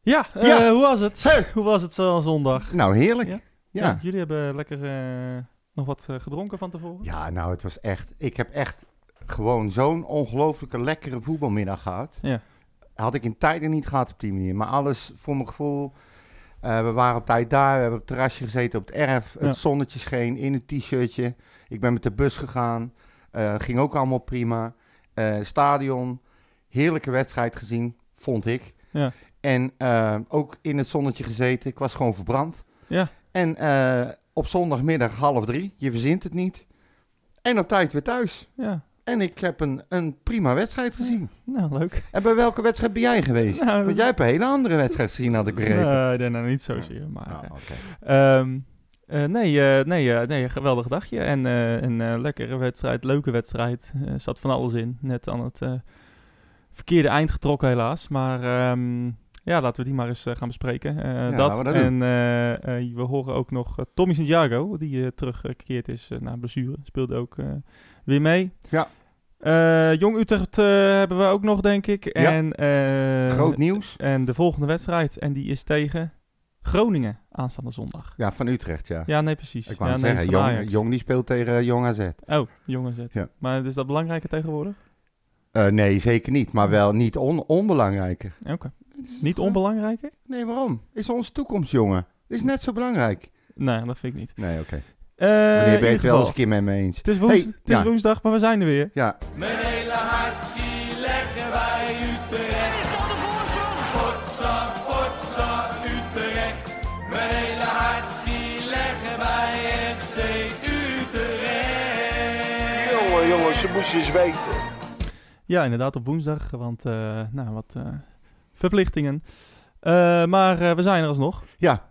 Ja, eh, Ja. hoe was het? Hey. Hoe was het zo zondag? Nou, heerlijk. Ja? Ja. Ja, Ja. jullie hebben lekker eh, nog wat eh, gedronken van tevoren. nou, het was echt... Ik heb echt gewoon zo'n ongelooflijke lekkere voetbalmiddag gehad. Ja. Had ik in tijden niet gehad op die manier. Maar alles, voor mijn gevoel... eh, we waren op tijd daar, we hebben op het terrasje gezeten op het erf. Ja. Het zonnetje scheen in een t-shirtje. Ik ben met de bus gegaan. eh, ging ook allemaal prima. Eh, stadion, heerlijke wedstrijd gezien, vond ik. Ja. En eh, ook in het zonnetje gezeten. Ik was gewoon verbrand. Ja. En eh, op zondagmiddag half drie, je verzint het niet. En op tijd weer thuis. Ja, En ik heb een, een prima wedstrijd gezien. nou leuk. En bij welke wedstrijd ben jij geweest? Nou, Want jij hebt een hele andere wedstrijd gezien, had ik begrepen. Nee, nee, nou, niet zozeer. Maar, Ah, eh, oké. Ehm, eh, nee, eh, nee, eh, nee, een geweldig dagje. En eh, een eh, lekkere wedstrijd, leuke wedstrijd. Eh, Er zat van alles in. Net aan het eh, verkeerde eind getrokken, helaas. Maar ehm, ja, laten we die maar eens eh, gaan bespreken. Eh, dat. laten we dat en eh, eh, we horen ook nog eh, Tommy Santiago, die eh, teruggekeerd is eh, na blessure. Speelde ook eh, weer mee. Ja. Eh, Jong Utrecht eh, hebben we ook nog, denk ik. En, eh, Groot nieuws. en de volgende wedstrijd, en die is tegen Groningen aanstaande zondag. Ja, van Utrecht, ja. Ja, nee, precies. Ik wou ja, het nee, zeggen, van jong, Ajax. jong die speelt tegen eh, Jong AZ. Oh, jongens. het. Ja. Maar is dat belangrijker tegenwoordig? Eh, nee, zeker niet. Maar wel niet on- onbelangrijker. Oké. Niet onbelangrijker? Nee, waarom? Is onze toekomst, jongen. Is net zo belangrijk. Nee, dat vind ik niet. Nee, oké. Eh, Meneer in ben je ieder het wel geval, eens een keer met me eens. Het is, woens- Hey, het is ja. woensdag, maar we zijn er weer. Ja, Mijn hele hart zie leggen wij Utrecht. Is dat de voorsprong? Potsa, potsa, Utrecht. Mijn hele hart zie leggen wij FC Utrecht. Jongen, jongen, ze moest je eens weten. Ja, inderdaad, op woensdag. Want, eh, nou, wat eh, verplichtingen. Eh, maar eh, we zijn er alsnog. ja.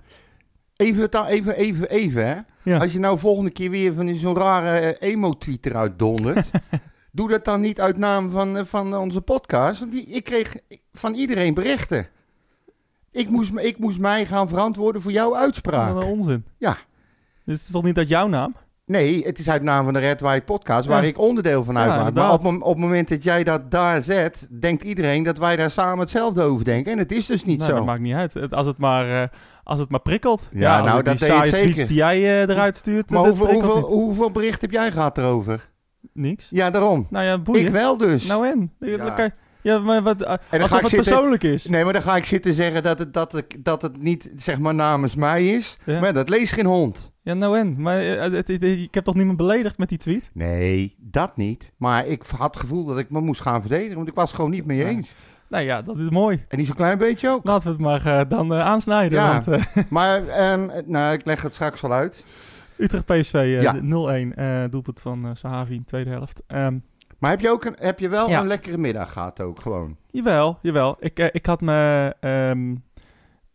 Even, ta- even, even, even, hè. Ja. Als je nou volgende keer weer van zo'n rare eh, emo-tweet eruit dondert... doe dat dan niet uit naam van, eh, van onze podcast. Want die, ik kreeg van iedereen berichten. Ik moest, me- ik moest mij gaan verantwoorden voor jouw uitspraak. Wat een onzin. Ja. Dus het is toch niet uit jouw naam? Nee, het is uit naam van de Red White podcast, waar Ja. ik onderdeel van Ja, uitmaak. maar inderdaad. op, mom- op het moment dat jij dat daar zet, denkt iedereen dat wij daar samen hetzelfde over denken. En het is dus niet nou, zo. Dat maakt niet uit. Het- als, het maar, eh, als het maar prikkelt. Ja, als nou, ik die dat deed het saaie tweets zeker. die jij eh, eruit stuurt, Maar dat hoeveel, prikkelt hoeveel, hoeveel bericht heb jij gehad erover? niet. Niks. Ja, daarom. Nou ja, boeien. Ik wel dus. Nou en? Ja, Ja. dan kan je- ja maar wat, eh, dan alsof ga ik het zitten- persoonlijk is. Nee, maar dan ga ik zitten zeggen dat het, dat het, dat het niet zeg maar namens mij is. Ja. Maar dat leest geen hond. Ja, nou en? Maar eh, het- het- het- ik heb toch niemand beledigd met die tweet? Nee, dat niet. Maar ik had het gevoel dat ik me moest gaan verdedigen, want ik was het gewoon niet mee Nee. eens. Nou ja, dat is mooi. En niet zo'n klein beetje ook. Laten we het maar eh, dan eh, aansnijden. Ja. Want eh, Maar ehm, nou, ik leg het straks wel uit. Utrecht PSV eh, Ja. 0-1. eh, doelpunt van eh, Sahavi, tweede helft. Ehm, Maar heb je, ook een, heb je wel Ja. een lekkere middag gehad ook gewoon? jawel, jawel. Ik, eh, ik had me ehm,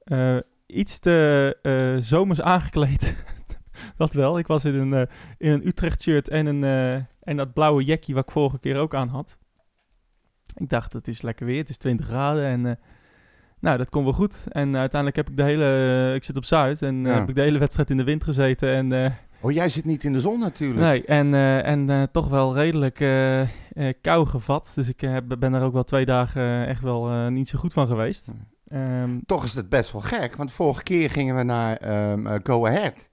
eh, iets te eh, zomers aangekleed. dat wel. Ik was in een, eh, in een Utrecht shirt en, een, eh, en dat blauwe jackie wat ik vorige keer ook aan had. Ik dacht, het is lekker weer, het is 20 graden en eh, nou, dat komt wel goed. En uiteindelijk heb ik de hele, eh, ik zit op Zuid en eh, Ja. heb ik de hele wedstrijd in de wind gezeten. En, eh, Oh, jij zit niet in de zon natuurlijk. nee, en, eh, en eh, toch wel redelijk eh, eh, kou gevat. Dus ik eh, heb- ben daar ook wel twee dagen eh, echt wel eh, niet zo goed van geweest. Hmm. Ehm, Toch is het best wel gek, want vorige keer gingen we naar ehm, eh, Go Ahead.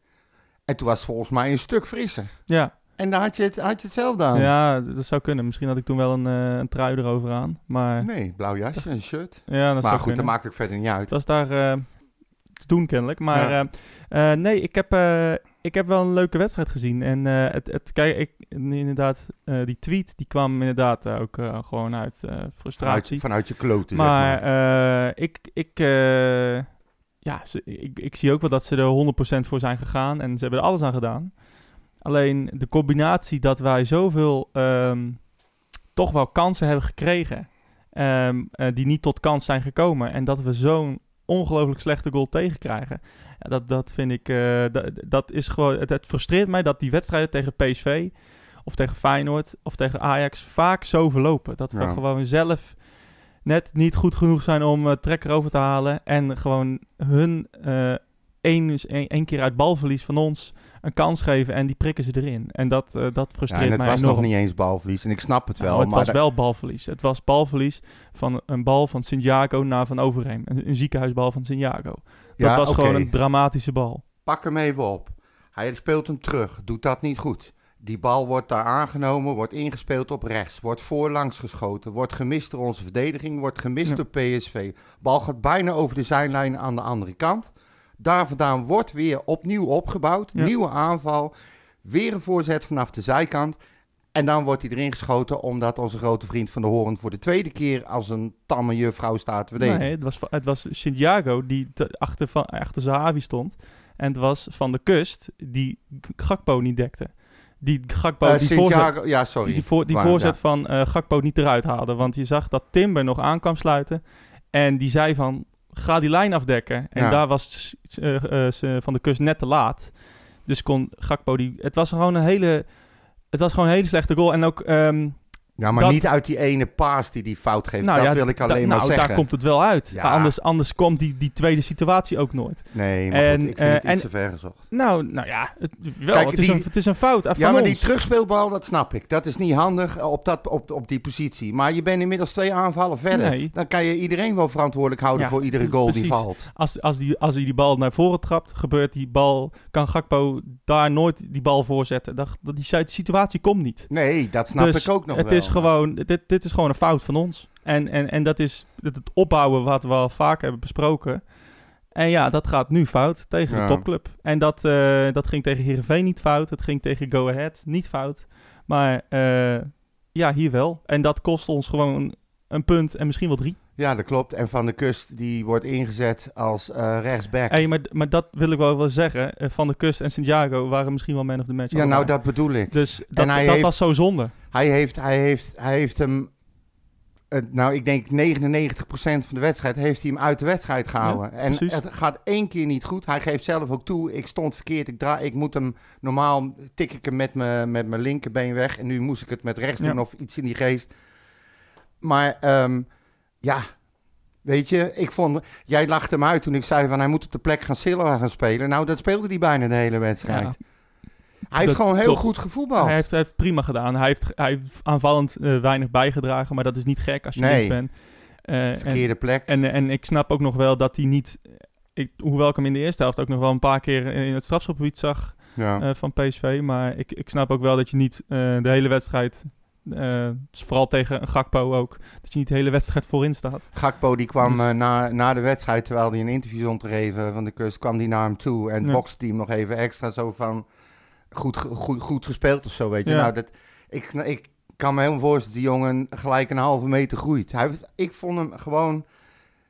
En toen was het volgens mij een stuk frisser. ja, En daar had je, het, had je hetzelfde aan. Ja, d- dat zou kunnen. Misschien had ik toen wel een, eh, een trui erover aan. Maar Nee, blauw jasje, een shirt. ja, dat maar zou goed, kunnen. dat maakt ook verder niet uit. Het was daar eh, te doen kennelijk. Maar Ja. eh, eh, nee, ik heb, eh, ik heb wel een leuke wedstrijd gezien. En eh, het, het, kijk, ik, inderdaad, eh, die tweet die kwam inderdaad eh, ook eh, gewoon uit eh, Vanuit, frustratie. vanuit je kloten, zeg maar maar. eh, ik, ik, eh, ja, ze- ik, ik zie ook wel dat ze er 100% voor zijn gegaan. En ze hebben er alles aan gedaan. Alleen de combinatie dat wij zoveel ehm, toch wel kansen hebben gekregen. ehm, eh, die niet tot kans zijn gekomen. En dat we zo'n ongelooflijk slechte goal tegenkrijgen. Ja, dat, dat vind ik. eh, da- dat is gewoon. Het, het frustreert mij dat die wedstrijden tegen PSV. Of tegen Feyenoord. Of tegen Ajax. Vaak zo verlopen. Dat we Ja. gewoon zelf. Net niet goed genoeg zijn om eh trekker over te halen. En gewoon hun eh, één, dus één, één keer uit balverlies van ons een kans geven en die prikken ze erin. En dat, eh, dat Ja, frustreert en het mij was enorm. nog niet eens balverlies. En ik snap het wel. Nou, het maar was da- wel balverlies. Het was balverlies van een bal van Santiago naar Van Overheem. Een, een ziekenhuisbal van Santiago. Dat ja, was oké. gewoon een dramatische bal. Pak hem even op. Hij speelt hem terug. Doet dat niet goed. Die bal wordt daar aangenomen, wordt ingespeeld op rechts, wordt voorlangs geschoten, wordt gemist door onze verdediging, wordt gemist Ja. door PSV. Bal gaat bijna over de zijlijn aan de andere kant. Daar vandaan wordt weer opnieuw opgebouwd, Ja. nieuwe aanval, weer een voorzet vanaf de zijkant. En dan wordt hij erin geschoten omdat onze grote vriend Van de Hoorn voor de tweede keer als een tamme juffrouw staat te verdedigen. Nee, het was, va- het was Santiago die te- achter, van, achter Zahavi stond. En het was Van de Kust die G- Gakpo niet dekte. Die Gakpo Eh, die voorzet, Santiago- ja, sorry. die, die voor- die Waar, voorzet ja. van eh, Gakpo niet eruit haalde. Want je zag dat Timber nog aan kwam sluiten. En die zei van, ga die lijn afdekken. En Ja. daar was s- s- eh, eh, s- Van de Kust net te laat. Dus kon Gakpo die... Het was gewoon een hele... Het was gewoon een hele slechte goal. En ook... ehm, Ja, maar Dat- niet uit die ene paas die die fout geeft. Nou dat ja, wil ik da- alleen maar nou, zeggen. daar komt het wel uit. Ja. Maar Anders, anders komt die, die tweede situatie ook nooit. Nee, maar En, goed, ik vind eh, het iets en- te ver gezocht. Nou, nou ja, het, wel, Kijk, het, is die- een, het is een fout eh, van Ja, maar die ons. terugspeelbal, dat snap ik. Dat is niet handig eh, op, dat, op, op die positie. Maar je bent inmiddels twee aanvallen verder. Nee. Dan kan je iedereen wel verantwoordelijk houden Ja, voor iedere goal die precies. valt. Als, als, die, als hij die bal naar voren trapt, gebeurt die bal, kan Gakpo daar nooit die bal voorzetten. Dat, dat die si- situatie komt niet. Nee, dat snap Dus ik ook nog het wel. is gewoon, dit, dit is gewoon een fout van ons. En, en, en dat is het het opbouwen wat we al vaak hebben besproken. En ja, dat gaat nu fout tegen Ja. de topclub. En dat, eh, dat ging tegen Heerenveen niet fout. Het ging tegen Go Ahead niet fout. Maar eh, ja, hier wel. En dat kost ons gewoon een punt en misschien wel drie. Ja, dat klopt. En Van de Kust, die wordt ingezet als eh, rechtsback. Hey, maar, maar dat wil ik wel wel zeggen. Eh, Van de Kust en Santiago waren misschien wel man of the match. ja, nou, allebei. dat bedoel ik. Dus dat, dat hij heeft- was zo zonde. Hij heeft, hij heeft, hij heeft hem. eh, nou, ik denk 99% van de wedstrijd heeft hij hem uit de wedstrijd gehouden. en precies. het gaat één keer niet goed. Hij geeft zelf ook toe: ik stond verkeerd, ik, draai, ik moet hem. Normaal tik ik hem met mijn met mijn linkerbeen weg. En nu moest ik het met rechts Ja. doen of iets in die geest. Maar ehm, ja, weet je, ik vond. Jij lachte hem uit toen ik zei: van hij moet op de plek gaan Silva gaan spelen. Nou, dat speelde hij bijna de hele wedstrijd. Ja. Hij heeft Dat gewoon heel klopt. goed gevoetbald. Hij heeft, hij heeft prima gedaan. Hij heeft, hij heeft aanvallend eh, weinig bijgedragen. Maar dat is niet gek als je Nee. links bent. Eh, en, Verkeerde plek. en, en ik snap ook nog wel dat hij niet... eh, Ik, hoewel ik hem in de eerste helft ook nog wel een paar keer in het strafschopgebied zag ja. eh, van PSV. Maar ik, ik snap ook wel dat je niet eh, de hele wedstrijd... eh, vooral tegen een Gakpo ook. Dat je niet de hele wedstrijd voorin staat. Gakpo die kwam Dus- eh, na, na de wedstrijd, terwijl hij een interview stond te geven van de kust, kwam die naar hem toe en Ja. bokste hij hem nog even extra zo van goed, ge- goed, goed gespeeld of zo, weet je. Ja. Nou, dat, ik, sna- ik kan me helemaal voorstellen dat die jongen gelijk een halve meter groeit. Hij, heeft- ik vond hem gewoon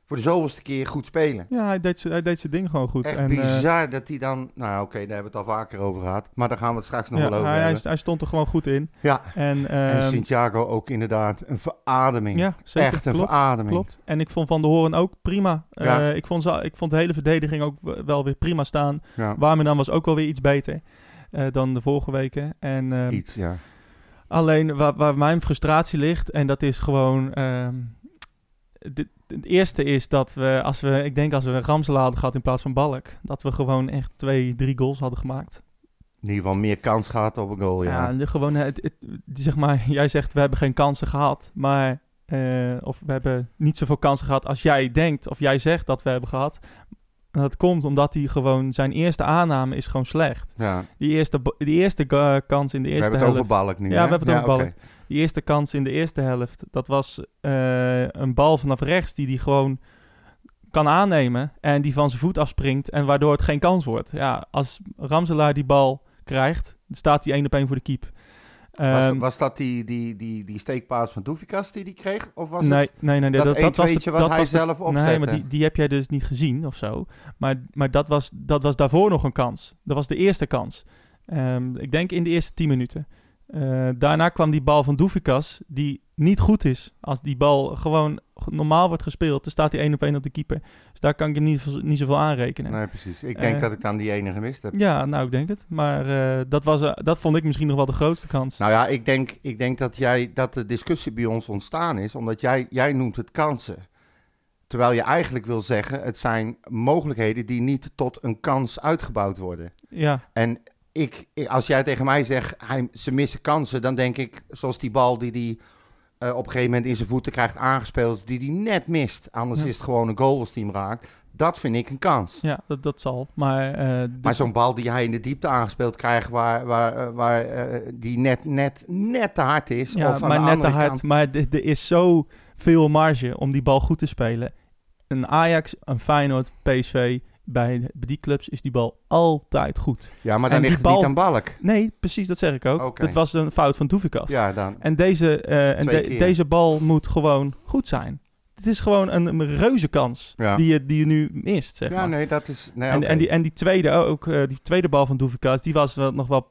voor de zoveelste keer goed spelen. Ja, hij deed, z'n- hij deed zijn ding gewoon goed. Echt en, eh, bizar dat hij dan... Nou oké, daar hebben we het al vaker over gehad. Maar daar gaan we het straks nog Ja, wel over hij, hij, hebben. st- hij stond er gewoon goed in. Ja, En, en ehm, Santiago ook inderdaad een verademing. ja, zeker. Echt een klopt, verademing. klopt. En ik vond Van de Horen ook prima. Ja. Eh, ik, vond ze, ik vond de hele verdediging ook w- wel weer prima staan. Ja, Warmerdam was ook wel weer iets beter eh, dan de vorige weken. En, ehm, iets, ja. alleen waar, waar mijn frustratie ligt, en dat is gewoon... ehm, dit- het eerste is dat we, als we, ik denk als we een Ramselaar hadden gehad in plaats van Balk, dat we gewoon echt twee, drie goals hadden gemaakt. In ieder geval meer kans gehad op een goal, Ja, de- gewoon, het, het- die- zeg maar, jij zegt we hebben geen kansen gehad, maar eh, of we hebben niet zoveel kansen gehad als jij denkt of jij zegt dat we hebben gehad. En dat komt omdat hij gewoon zijn eerste aanname is gewoon slecht. ja. Die eerste, ba- die eerste ga- kans in de We eerste hebben het helft. over Balk nu. Ja, hè? we hebben het over oké. Balk. Die eerste kans in de eerste helft, dat was eh, een bal vanaf rechts die hij gewoon kan aannemen en die van zijn voet afspringt en waardoor het geen kans wordt. Ja, als Ramselaar die bal krijgt, dan staat hij één op één voor de keep. Was, Ehm, was dat die, die, die, die steekpaas van Doefikas die die kreeg? Of was nee, het... nee, nee, nee, dat dat, dat was 1-2'tje de- wat dat hij was de- zelf Nee, opzette? maar die, die heb jij dus niet gezien of zo. Maar, maar dat, was, dat was daarvoor nog een kans. Dat was de eerste kans. Ehm, ik denk in de eerste 10 minuten. Eh, daarna kwam die bal van Doefikas, die niet goed is. Als die bal gewoon g- normaal wordt gespeeld, dan staat hij één op één op de keeper. Dus daar kan ik hem niet, veel- niet zoveel aan rekenen. Nee, precies. Ik denk Eh. dat ik dan die ene gemist heb. Ja, nou, ik denk het. Maar eh, dat, was, eh, dat vond ik misschien nog wel de grootste kans. Nou ja, ik denk, ik denk dat, jij, dat de discussie bij ons ontstaan is, omdat jij, jij noemt het kansen. Terwijl je eigenlijk wil zeggen, het zijn mogelijkheden die niet tot een kans uitgebouwd worden. Ja, En ik, ik- als jij tegen mij zegt, hij, ze missen kansen, dan denk ik, zoals die bal die hij op een gegeven moment in zijn voeten krijgt aangespeeld, die hij net mist. Anders Ja. is het gewoon een goal als die hem raakt. Dat vind ik een kans. ja dat, dat zal. Maar, eh, de- Maar zo'n bal die hij in de diepte aangespeeld krijgt, waar, waar, eh, waar eh, die net, net, net te hard is. ja, of aan maar de net te andere hard. kant- Maar d- er is zo veel marge om die bal goed te spelen. Een Ajax, een Feyenoord, PSV, bij bij die clubs is die bal altijd goed. Ja, maar En dan die ligt het bal- niet aan balk. Nee, precies, dat zeg ik ook. Oké. Dat was een fout van Doevikas. Ja, dan. En, deze, eh, en Twee de- keer. deze bal moet gewoon goed zijn. Het is gewoon een, een reuze kans Ja. die, je, die je nu mist, zeg Ja, maar. nee, dat is. Nee, en, oké. en, die, en die tweede ook, eh, die tweede bal van Doevikas, die was wel nog wel...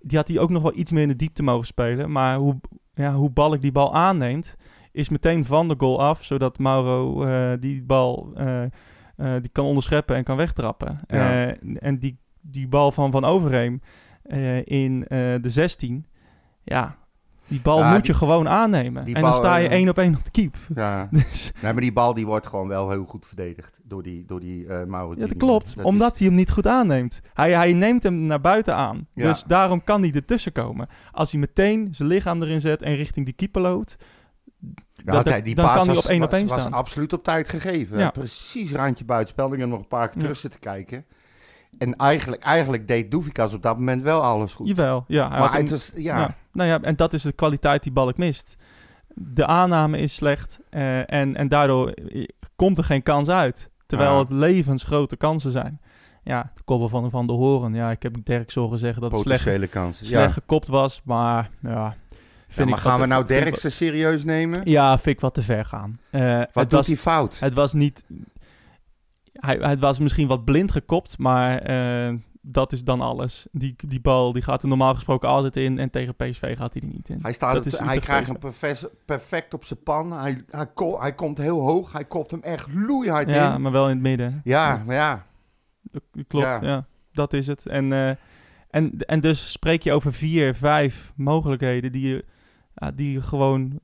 Die had hij ook nog wel iets meer in de diepte mogen spelen. Maar hoe, ja, hoe Balk die bal aanneemt, is meteen van de goal af. Zodat Mauro eh, die bal eh, eh, die kan onderscheppen en kan wegtrappen. Ja. Eh, en die, die bal van Van Overheem eh, in eh, de 16. Ja, die bal Ja, moet die- je gewoon aannemen. die En dan bal, sta je eh, één op één op de keep. Ja. Dus, Nee, maar die bal die wordt gewoon wel heel goed verdedigd door die, door die eh Mauro. ja, dat Dini. klopt, Dat omdat hij hem niet goed aanneemt. Hij, hij neemt hem naar buiten aan. Ja. Dus daarom kan hij ertussen komen. Als hij meteen zijn lichaam erin zet en richting die keeper loopt... is- dat- hij- dan paas kan hij was- op één op was- één was staan. absoluut op tijd gegeven. Ja. Precies randje buitenspel. Ik heb nog een paar keer Ja. terug zitten kijken. En eigenlijk, eigenlijk deed Doevikas op dat moment wel alles goed. Jawel, ja. hij had maar hem- het is, ja, Ja. Nou ja, en dat is de kwaliteit die Balk mist. De aanname is slecht eh, en, en daardoor eh, komt er geen kans uit. Terwijl Ja. het levensgrote kansen zijn. Ja, de kobbel van Van de Horen. Ja, ik heb Dirk zo gezegd dat het slecht, potentiële kansen. Ja. slecht gekopt was. Maar ja, vind Ja, ik maar wat gaan we te- nou vind ik Derksen serieus nemen? wat- Ja, vind ik wat te ver gaan. Eh, Wat het, doet was, hij fout? het was niet... Hij, het was misschien wat blind gekopt, maar eh, dat is dan alles. Die, die bal die gaat er normaal gesproken altijd in en tegen PSV gaat hij er niet in. Hij, staat Dat op- is hij Utrecht krijgt bezig. hem perfect, perfect op zijn pan. Hij, hij, ko- hij komt heel hoog. Hij kopt hem echt loeihard Ja, in. maar wel in het midden. Ja, Dat- maar ja. dat klopt. Ja. Ja. dat is het. En, eh, en, en dus spreek je over vier, vijf mogelijkheden die je, ja, die je gewoon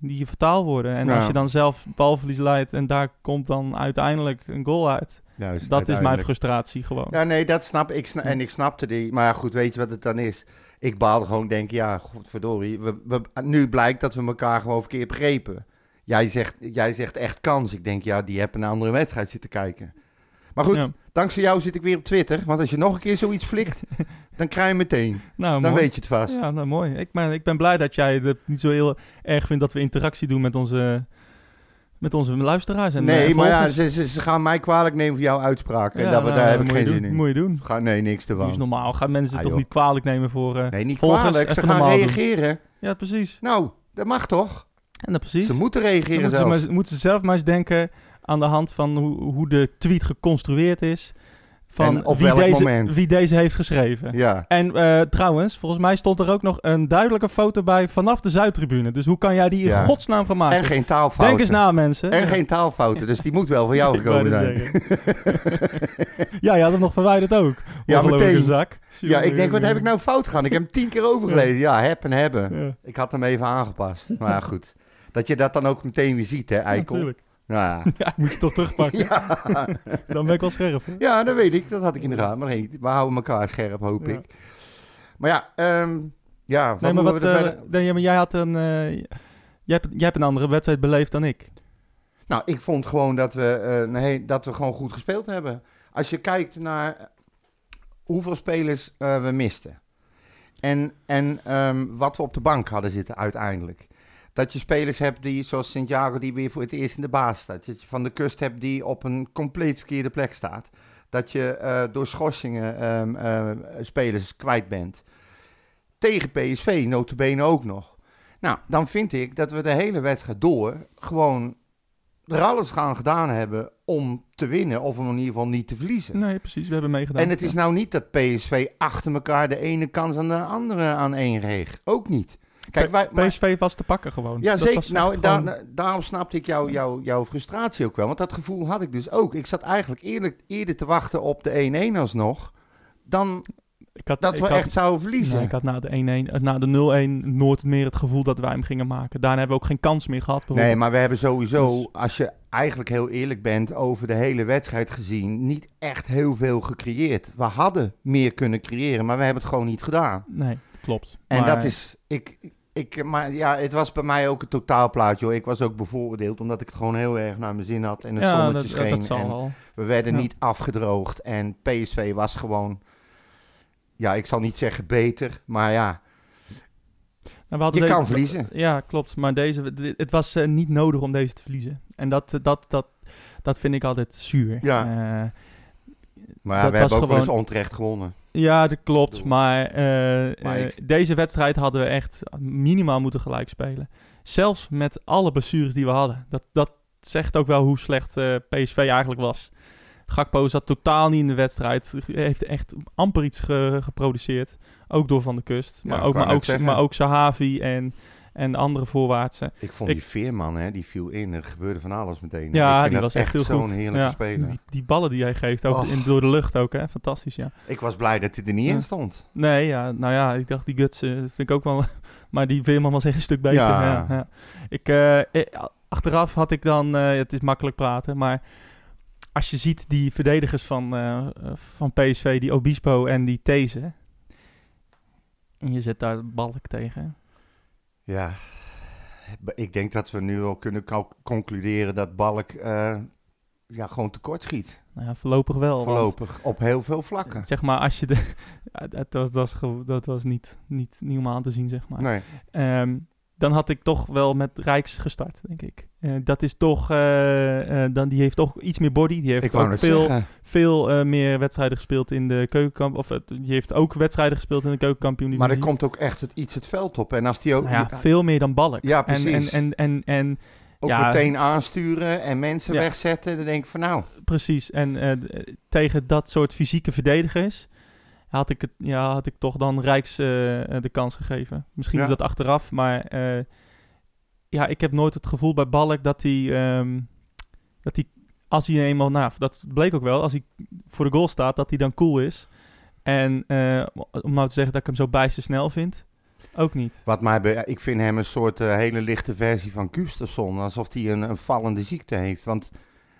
die je vertaal worden. En Ja. als je dan zelf balverlies leidt en daar komt dan uiteindelijk een goal uit. Juist, dat is mijn uiteindelijk. frustratie gewoon. Ja, nee, dat snap ik. Sna- en ik snapte die. Maar ja, goed, weet je wat het dan is? Ik baalde gewoon, denk ja, godverdorie. We, we, nu blijkt dat we elkaar gewoon verkeerd begrepen. Jij zegt, jij zegt echt kans. Ik denk, ja, die hebben een andere wedstrijd zitten kijken. Maar goed, Ja. dankzij jou zit ik weer op Twitter. Want als je nog een keer zoiets flikt, dan krijg je meteen. Nou, Dan mooi. weet je het vast. Ja, nou mooi. Ik ben, ik ben blij dat jij het niet zo heel erg vindt dat we interactie doen met onze, met onze luisteraars. En nee, eh, maar ja, volgers. ze, ze, ze gaan mij kwalijk nemen voor jouw uitspraak. En Ja, dat, we nou, daar heb ik moet je geen doen, zin in. Moet je doen. Ga, nee, niks te Dus van. normaal gaan mensen het Ah, toch niet joh. kwalijk nemen voor... eh, Nee, niet volgers kwalijk. Ze even gaan normaal doen. reageren. Ja, precies. Nou, dat mag toch? En dat precies. Ze moeten Dan reageren moeten, ze zelfs. maar, eens- moeten ze zelf maar eens denken aan de hand van hoe, hoe de tweet geconstrueerd is. Van En op wie, welk deze, moment. wie deze heeft geschreven. Ja. En eh, trouwens, volgens mij stond er ook nog een duidelijke foto bij vanaf de Zuidtribune. Dus hoe kan jij die in Ja. godsnaam gaan maken? En geen taalfouten. Ah, Denk eens na, mensen. En Ja. geen taalfouten, dus die moet wel van jou Ik wou gekomen net zijn. zeggen. ja, je had hem nog verwijderd ook. Ja, Ongelukkige meteen. zak. Ja, ik denk, wat heb ik nou fout gedaan? Ik heb hem tien keer overgelezen. Ja, heb en hebben. eh, Ja, Ik had hem even aangepast. Maar ja, goed, dat je dat dan ook meteen weer ziet, hè, Eikel? natuurlijk. Nou ja. Ja, ik moest het toch terugpakken. Dan ben ik wel scherp. hoor. ja, dat weet ik. Dat had ik in de gaten. Maar hey, we houden elkaar scherp, hoop Ja. ik. Maar ja, ehm, ja wat Nee, maar, moeten wat, we er eh, verder- nee, maar jij had een. eh, jij, hebt, jij hebt een andere wedstrijd beleefd dan ik. Nou, ik vond gewoon dat we, eh, nee, dat we gewoon goed gespeeld hebben. Als je kijkt naar hoeveel spelers eh, we misten. En, en ehm, wat we op de bank hadden zitten uiteindelijk. Dat je spelers hebt die, zoals Santiago, die weer voor het eerst in de baas staat. Dat je van de kust hebt die op een compleet verkeerde plek staat. Dat je eh, door schorsingen ehm, eh, spelers kwijt bent. Tegen PSV, notabene ook nog. Nou, dan vind ik dat we de hele wedstrijd door gewoon er alles gaan gedaan hebben om te winnen. Of om in ieder geval niet te verliezen. Nee, precies. We hebben meegedaan. En het is nou niet dat PSV achter elkaar de ene kans aan de andere aan één reeg. Ook niet. Kijk, wij, maar- PSV was te pakken gewoon. ja, Dat zeker. was Nou, echt daar- gewoon- daarom snapte ik jou, jou, jouw frustratie ook wel. Want dat gevoel had ik dus ook. Ik zat eigenlijk eerlijk, eerder te wachten op de 1-1 alsnog. Dan Ik had, dat ik we had- echt zouden verliezen. nee, ik had na de 1-1, eh, na de 0-1 nooit meer het gevoel dat wij hem gingen maken. Daarna hebben we ook geen kans meer gehad. Nee, bijvoorbeeld. maar we hebben sowieso, Dus- als je eigenlijk heel eerlijk bent, over de hele wedstrijd gezien, niet echt heel veel gecreëerd. We hadden meer kunnen creëren, maar we hebben het gewoon niet gedaan. Nee, klopt. En Maar- dat is, ik, ik, maar ja, het was bij mij ook een totaalplaatje hoor. Ik was ook bevooroordeeld, omdat ik het gewoon heel erg naar mijn zin had en het ja, zonnetje dat, scheen. dat zal en wel. Nou, we werden Ja. niet afgedroogd en PSV was gewoon, ja, ik zal niet zeggen beter, maar ja, Nou, we hadden je deze- kan verliezen. Ja, klopt. Maar deze, dit- het was eh, niet nodig om deze te verliezen. En dat, eh, dat, dat, dat vind ik altijd zuur. Ja. Eh, Maar ja, dat we hebben ook was wel eens gewoon- onterecht gewonnen. ja, dat klopt. Doe. Maar, eh, Maar eh, ik- deze wedstrijd hadden we echt minimaal moeten gelijk spelen. Zelfs met alle blessures die we hadden. Dat, dat zegt ook wel hoe slecht eh, PSV eigenlijk was. Gakpo zat totaal niet in de wedstrijd. Hij heeft echt amper iets ge- geproduceerd. Ook door Van de Kust. Ja, maar, ik ook, wou maar, net ook, zeggen. maar ook Sahavi en, en de andere voorwaartsen. Ik vond Ik- die Veerman, hè, die viel in. Er gebeurde van alles meteen. Ja, ik vind die dat was echt heel zo'n goed. heerlijke Ja, speler. Die, die ballen die hij geeft, ook Och. in, door de lucht ook, hè? Fantastisch, ja. Ik was blij dat hij er niet Ja. in stond. Nee, ja, nou ja, ik dacht die Guts eh, vind ik ook wel... maar die Veerman was echt een stuk beter. Ja. Ja. ja. Ik, eh, eh, achteraf had ik dan... eh, het is makkelijk praten, maar... Als je ziet die verdedigers van, eh, eh, van PSV, die Obispo en die These... En je zet daar balk tegen. Ja. Maar Ik denk dat we nu wel kunnen cal- concluderen dat Balk eh, ja, gewoon tekort schiet. Nou ja, voorlopig wel. want- Voorlopig. Op heel veel vlakken. Zeg maar, als je de... Ja, dat was, dat was, ge- dat was niet, niet, niet om aan te zien, zeg maar. Nee. Ehm, dan had ik toch wel met Rijks gestart, denk ik. Eh, dat is toch, eh, eh, dan, die heeft toch iets meer body. Die Ik heeft wou ook net veel, zeggen. veel eh, meer wedstrijden gespeeld in de keukenkamp. Of eh, die heeft ook wedstrijden gespeeld in de keukenkampioen. Maar er komt ook echt het, iets het veld op. En als die ook, nou ja, veel meer dan Balk. Ja, En- precies. En, en, en, en, ook ja. meteen aansturen en mensen Ja. wegzetten, dan denk ik van nou, precies. En eh, d- tegen dat soort fysieke verdedigers had ik, het, ja, had ik toch dan Rijks eh, eh, de kans gegeven. Misschien Ja. is dat achteraf, maar eh, ja, ik heb nooit het gevoel bij Balk dat hij, ehm, dat hij als hij eenmaal, nou, dat bleek ook wel, als hij voor de goal staat, dat hij dan cool is. En eh, om nou te zeggen dat ik hem zo bijster snel vind, ook niet. wat mij be- ik vind hem een soort eh, hele lichte versie van Gustafsson. Alsof hij een, een vallende ziekte heeft. Want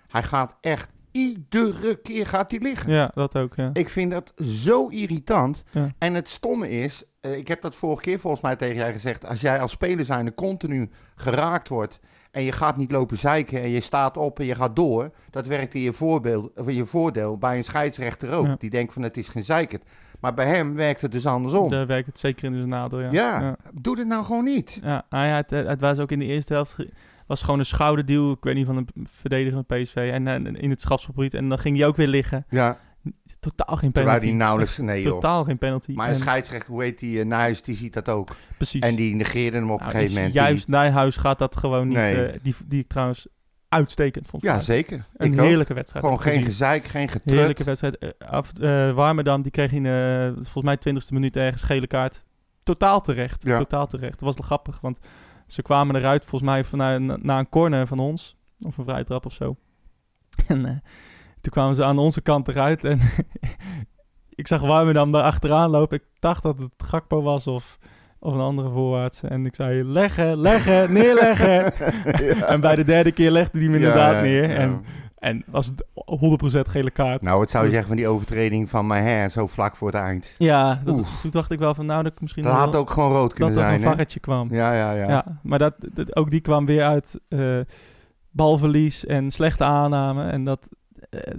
hij gaat echt iedere keer gaat hij liggen. Ja, dat ook, ja. Ik vind dat zo irritant. Ja. En het stomme is, eh, ik heb dat vorige keer volgens mij tegen jij gezegd. Als jij als speler zijnde continu geraakt wordt en je gaat niet lopen zeiken en je staat op en je gaat door. Dat werkt in je, voorbeeld, of in je voordeel bij een scheidsrechter ook. Ja. Die denkt van het is geen zeikert. Maar bij hem werkt het dus andersom. Daar werkt het zeker in zijn nadeel, ja. ja, doe dit nou gewoon niet. Ja, hij had, het, het was ook in de eerste helft. ge- was gewoon een schouderduw, ik weet niet, van een verdediger van PSV. En, en- in het schapsgebied. En dan ging hij ook weer liggen. Ja, Totaal geen terwijl penalty. die nauwelijks... Nee joh. Totaal geen penalty. Maar En- een scheidsrechter, hoe heet die, eh, Nijs, die ziet dat ook. precies. En die negeerde hem op Nou, een dus gegeven moment. Die- Juist Nijhuis gaat dat gewoon niet. Nee. eh, die, die ik trouwens uitstekend vond. Ja, vandaag. zeker. Een ik ook. heerlijke wedstrijd. Gewoon heb ik geen gezien. gezeik, geen getrut. Heerlijke wedstrijd. Eh, af, eh, Warmerdam, die kreeg in eh, volgens mij 20e minuut ergens gele kaart. Totaal terecht. Ja. Totaal terecht. Dat was wel grappig, want ze kwamen eruit volgens mij vanuit, na een corner van ons. Of een vrije trap of zo. En eh, toen kwamen ze aan onze kant eruit en ik zag Warmerdam daar achteraan lopen. Ik dacht dat het Gakpo was of, of een andere voorwaarts. En ik zei, leggen, leggen, neerleggen. Ja. Eh, En bij de derde keer legde hij hem Ja, inderdaad neer. ja. En, Dus- en was het 100% gele kaart. Nou, wat zou je zeggen van die overtreding van Maher zo vlak voor het eind? Ja, dat- Oef. toen dacht ik wel van nou dat ik misschien Dat wel- had ook gewoon rood dat kunnen er een zijn, hè? varretje kwam. Ja, Ja, ja, ja. maar dat, dat- ook die kwam weer uit eh, balverlies en slechte aanname. En dat, eh,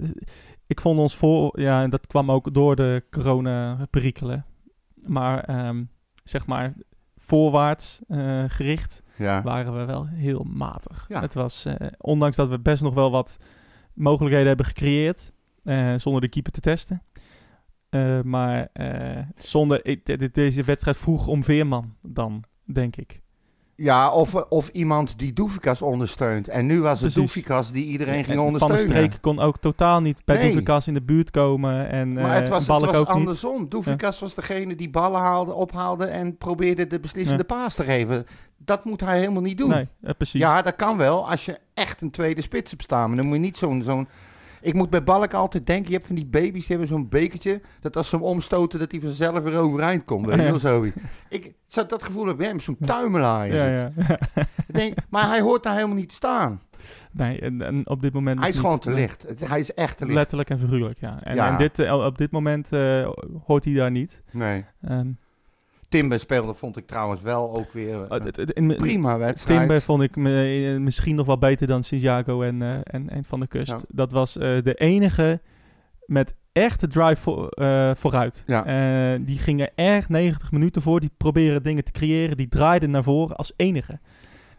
ik vond ons voor, ja, en dat kwam ook door de corona-perikelen. Maar ehm, zeg maar voorwaarts eh, gericht ja. waren we wel heel matig. Ja. Het was, eh, ondanks dat we best nog wel wat mogelijkheden hebben gecreëerd, eh, zonder de keeper te testen. Eh, maar eh, zonder, ik- de- de- deze wedstrijd vroeg om Veerman dan, denk ik. Ja, of, of iemand die Doefikas ondersteunt. En nu was het Precies. Doefikas die iedereen ging En Van der ondersteunen. Streek kon ook totaal niet bij Nee. nee. in de buurt komen en eh maar het was, het Balk was ook niet. andersom. Doefikas was degene die ballen haalde, ophaalde en probeerde de beslissende paas te geven. Dat moet hij helemaal niet doen. Nee, eh, precies. Ja, dat kan wel als je echt een tweede spits hebt staan. Maar dan moet je niet zo'n... zo'n Ik moet bij Balk altijd denken, je hebt van die baby's, die hebben zo'n bekertje, dat als ze hem omstoten, dat hij vanzelf weer overeind komt. Weet je wel, zoiets. Ik zat dat gevoel heb bij hem, zo'n tuimelaar. is Ja, het. ja. Ik denk, maar hij hoort daar helemaal niet te staan. Nee, en, en op dit moment. nog Hij is niet. gewoon te Nee. licht. Het- hij is echt te licht. Letterlijk en figuurlijk, ja. En, Ja. en dit, eh, op dit moment eh, hoort hij daar niet. Nee. Ehm, Timber speelde, vond ik trouwens wel ook weer het- een het- het- in mijn- prima wedstrijd. Timber vond ik me- eh, misschien nog wel beter dan Santiago en, eh, en, en Van der Kust. Ja. Dat was eh, de enige met echte drive voor, eh, vooruit. Ja. Eh, die gingen echt 90 minuten voor. Die proberen dingen te creëren. Die draaiden naar voren als enige.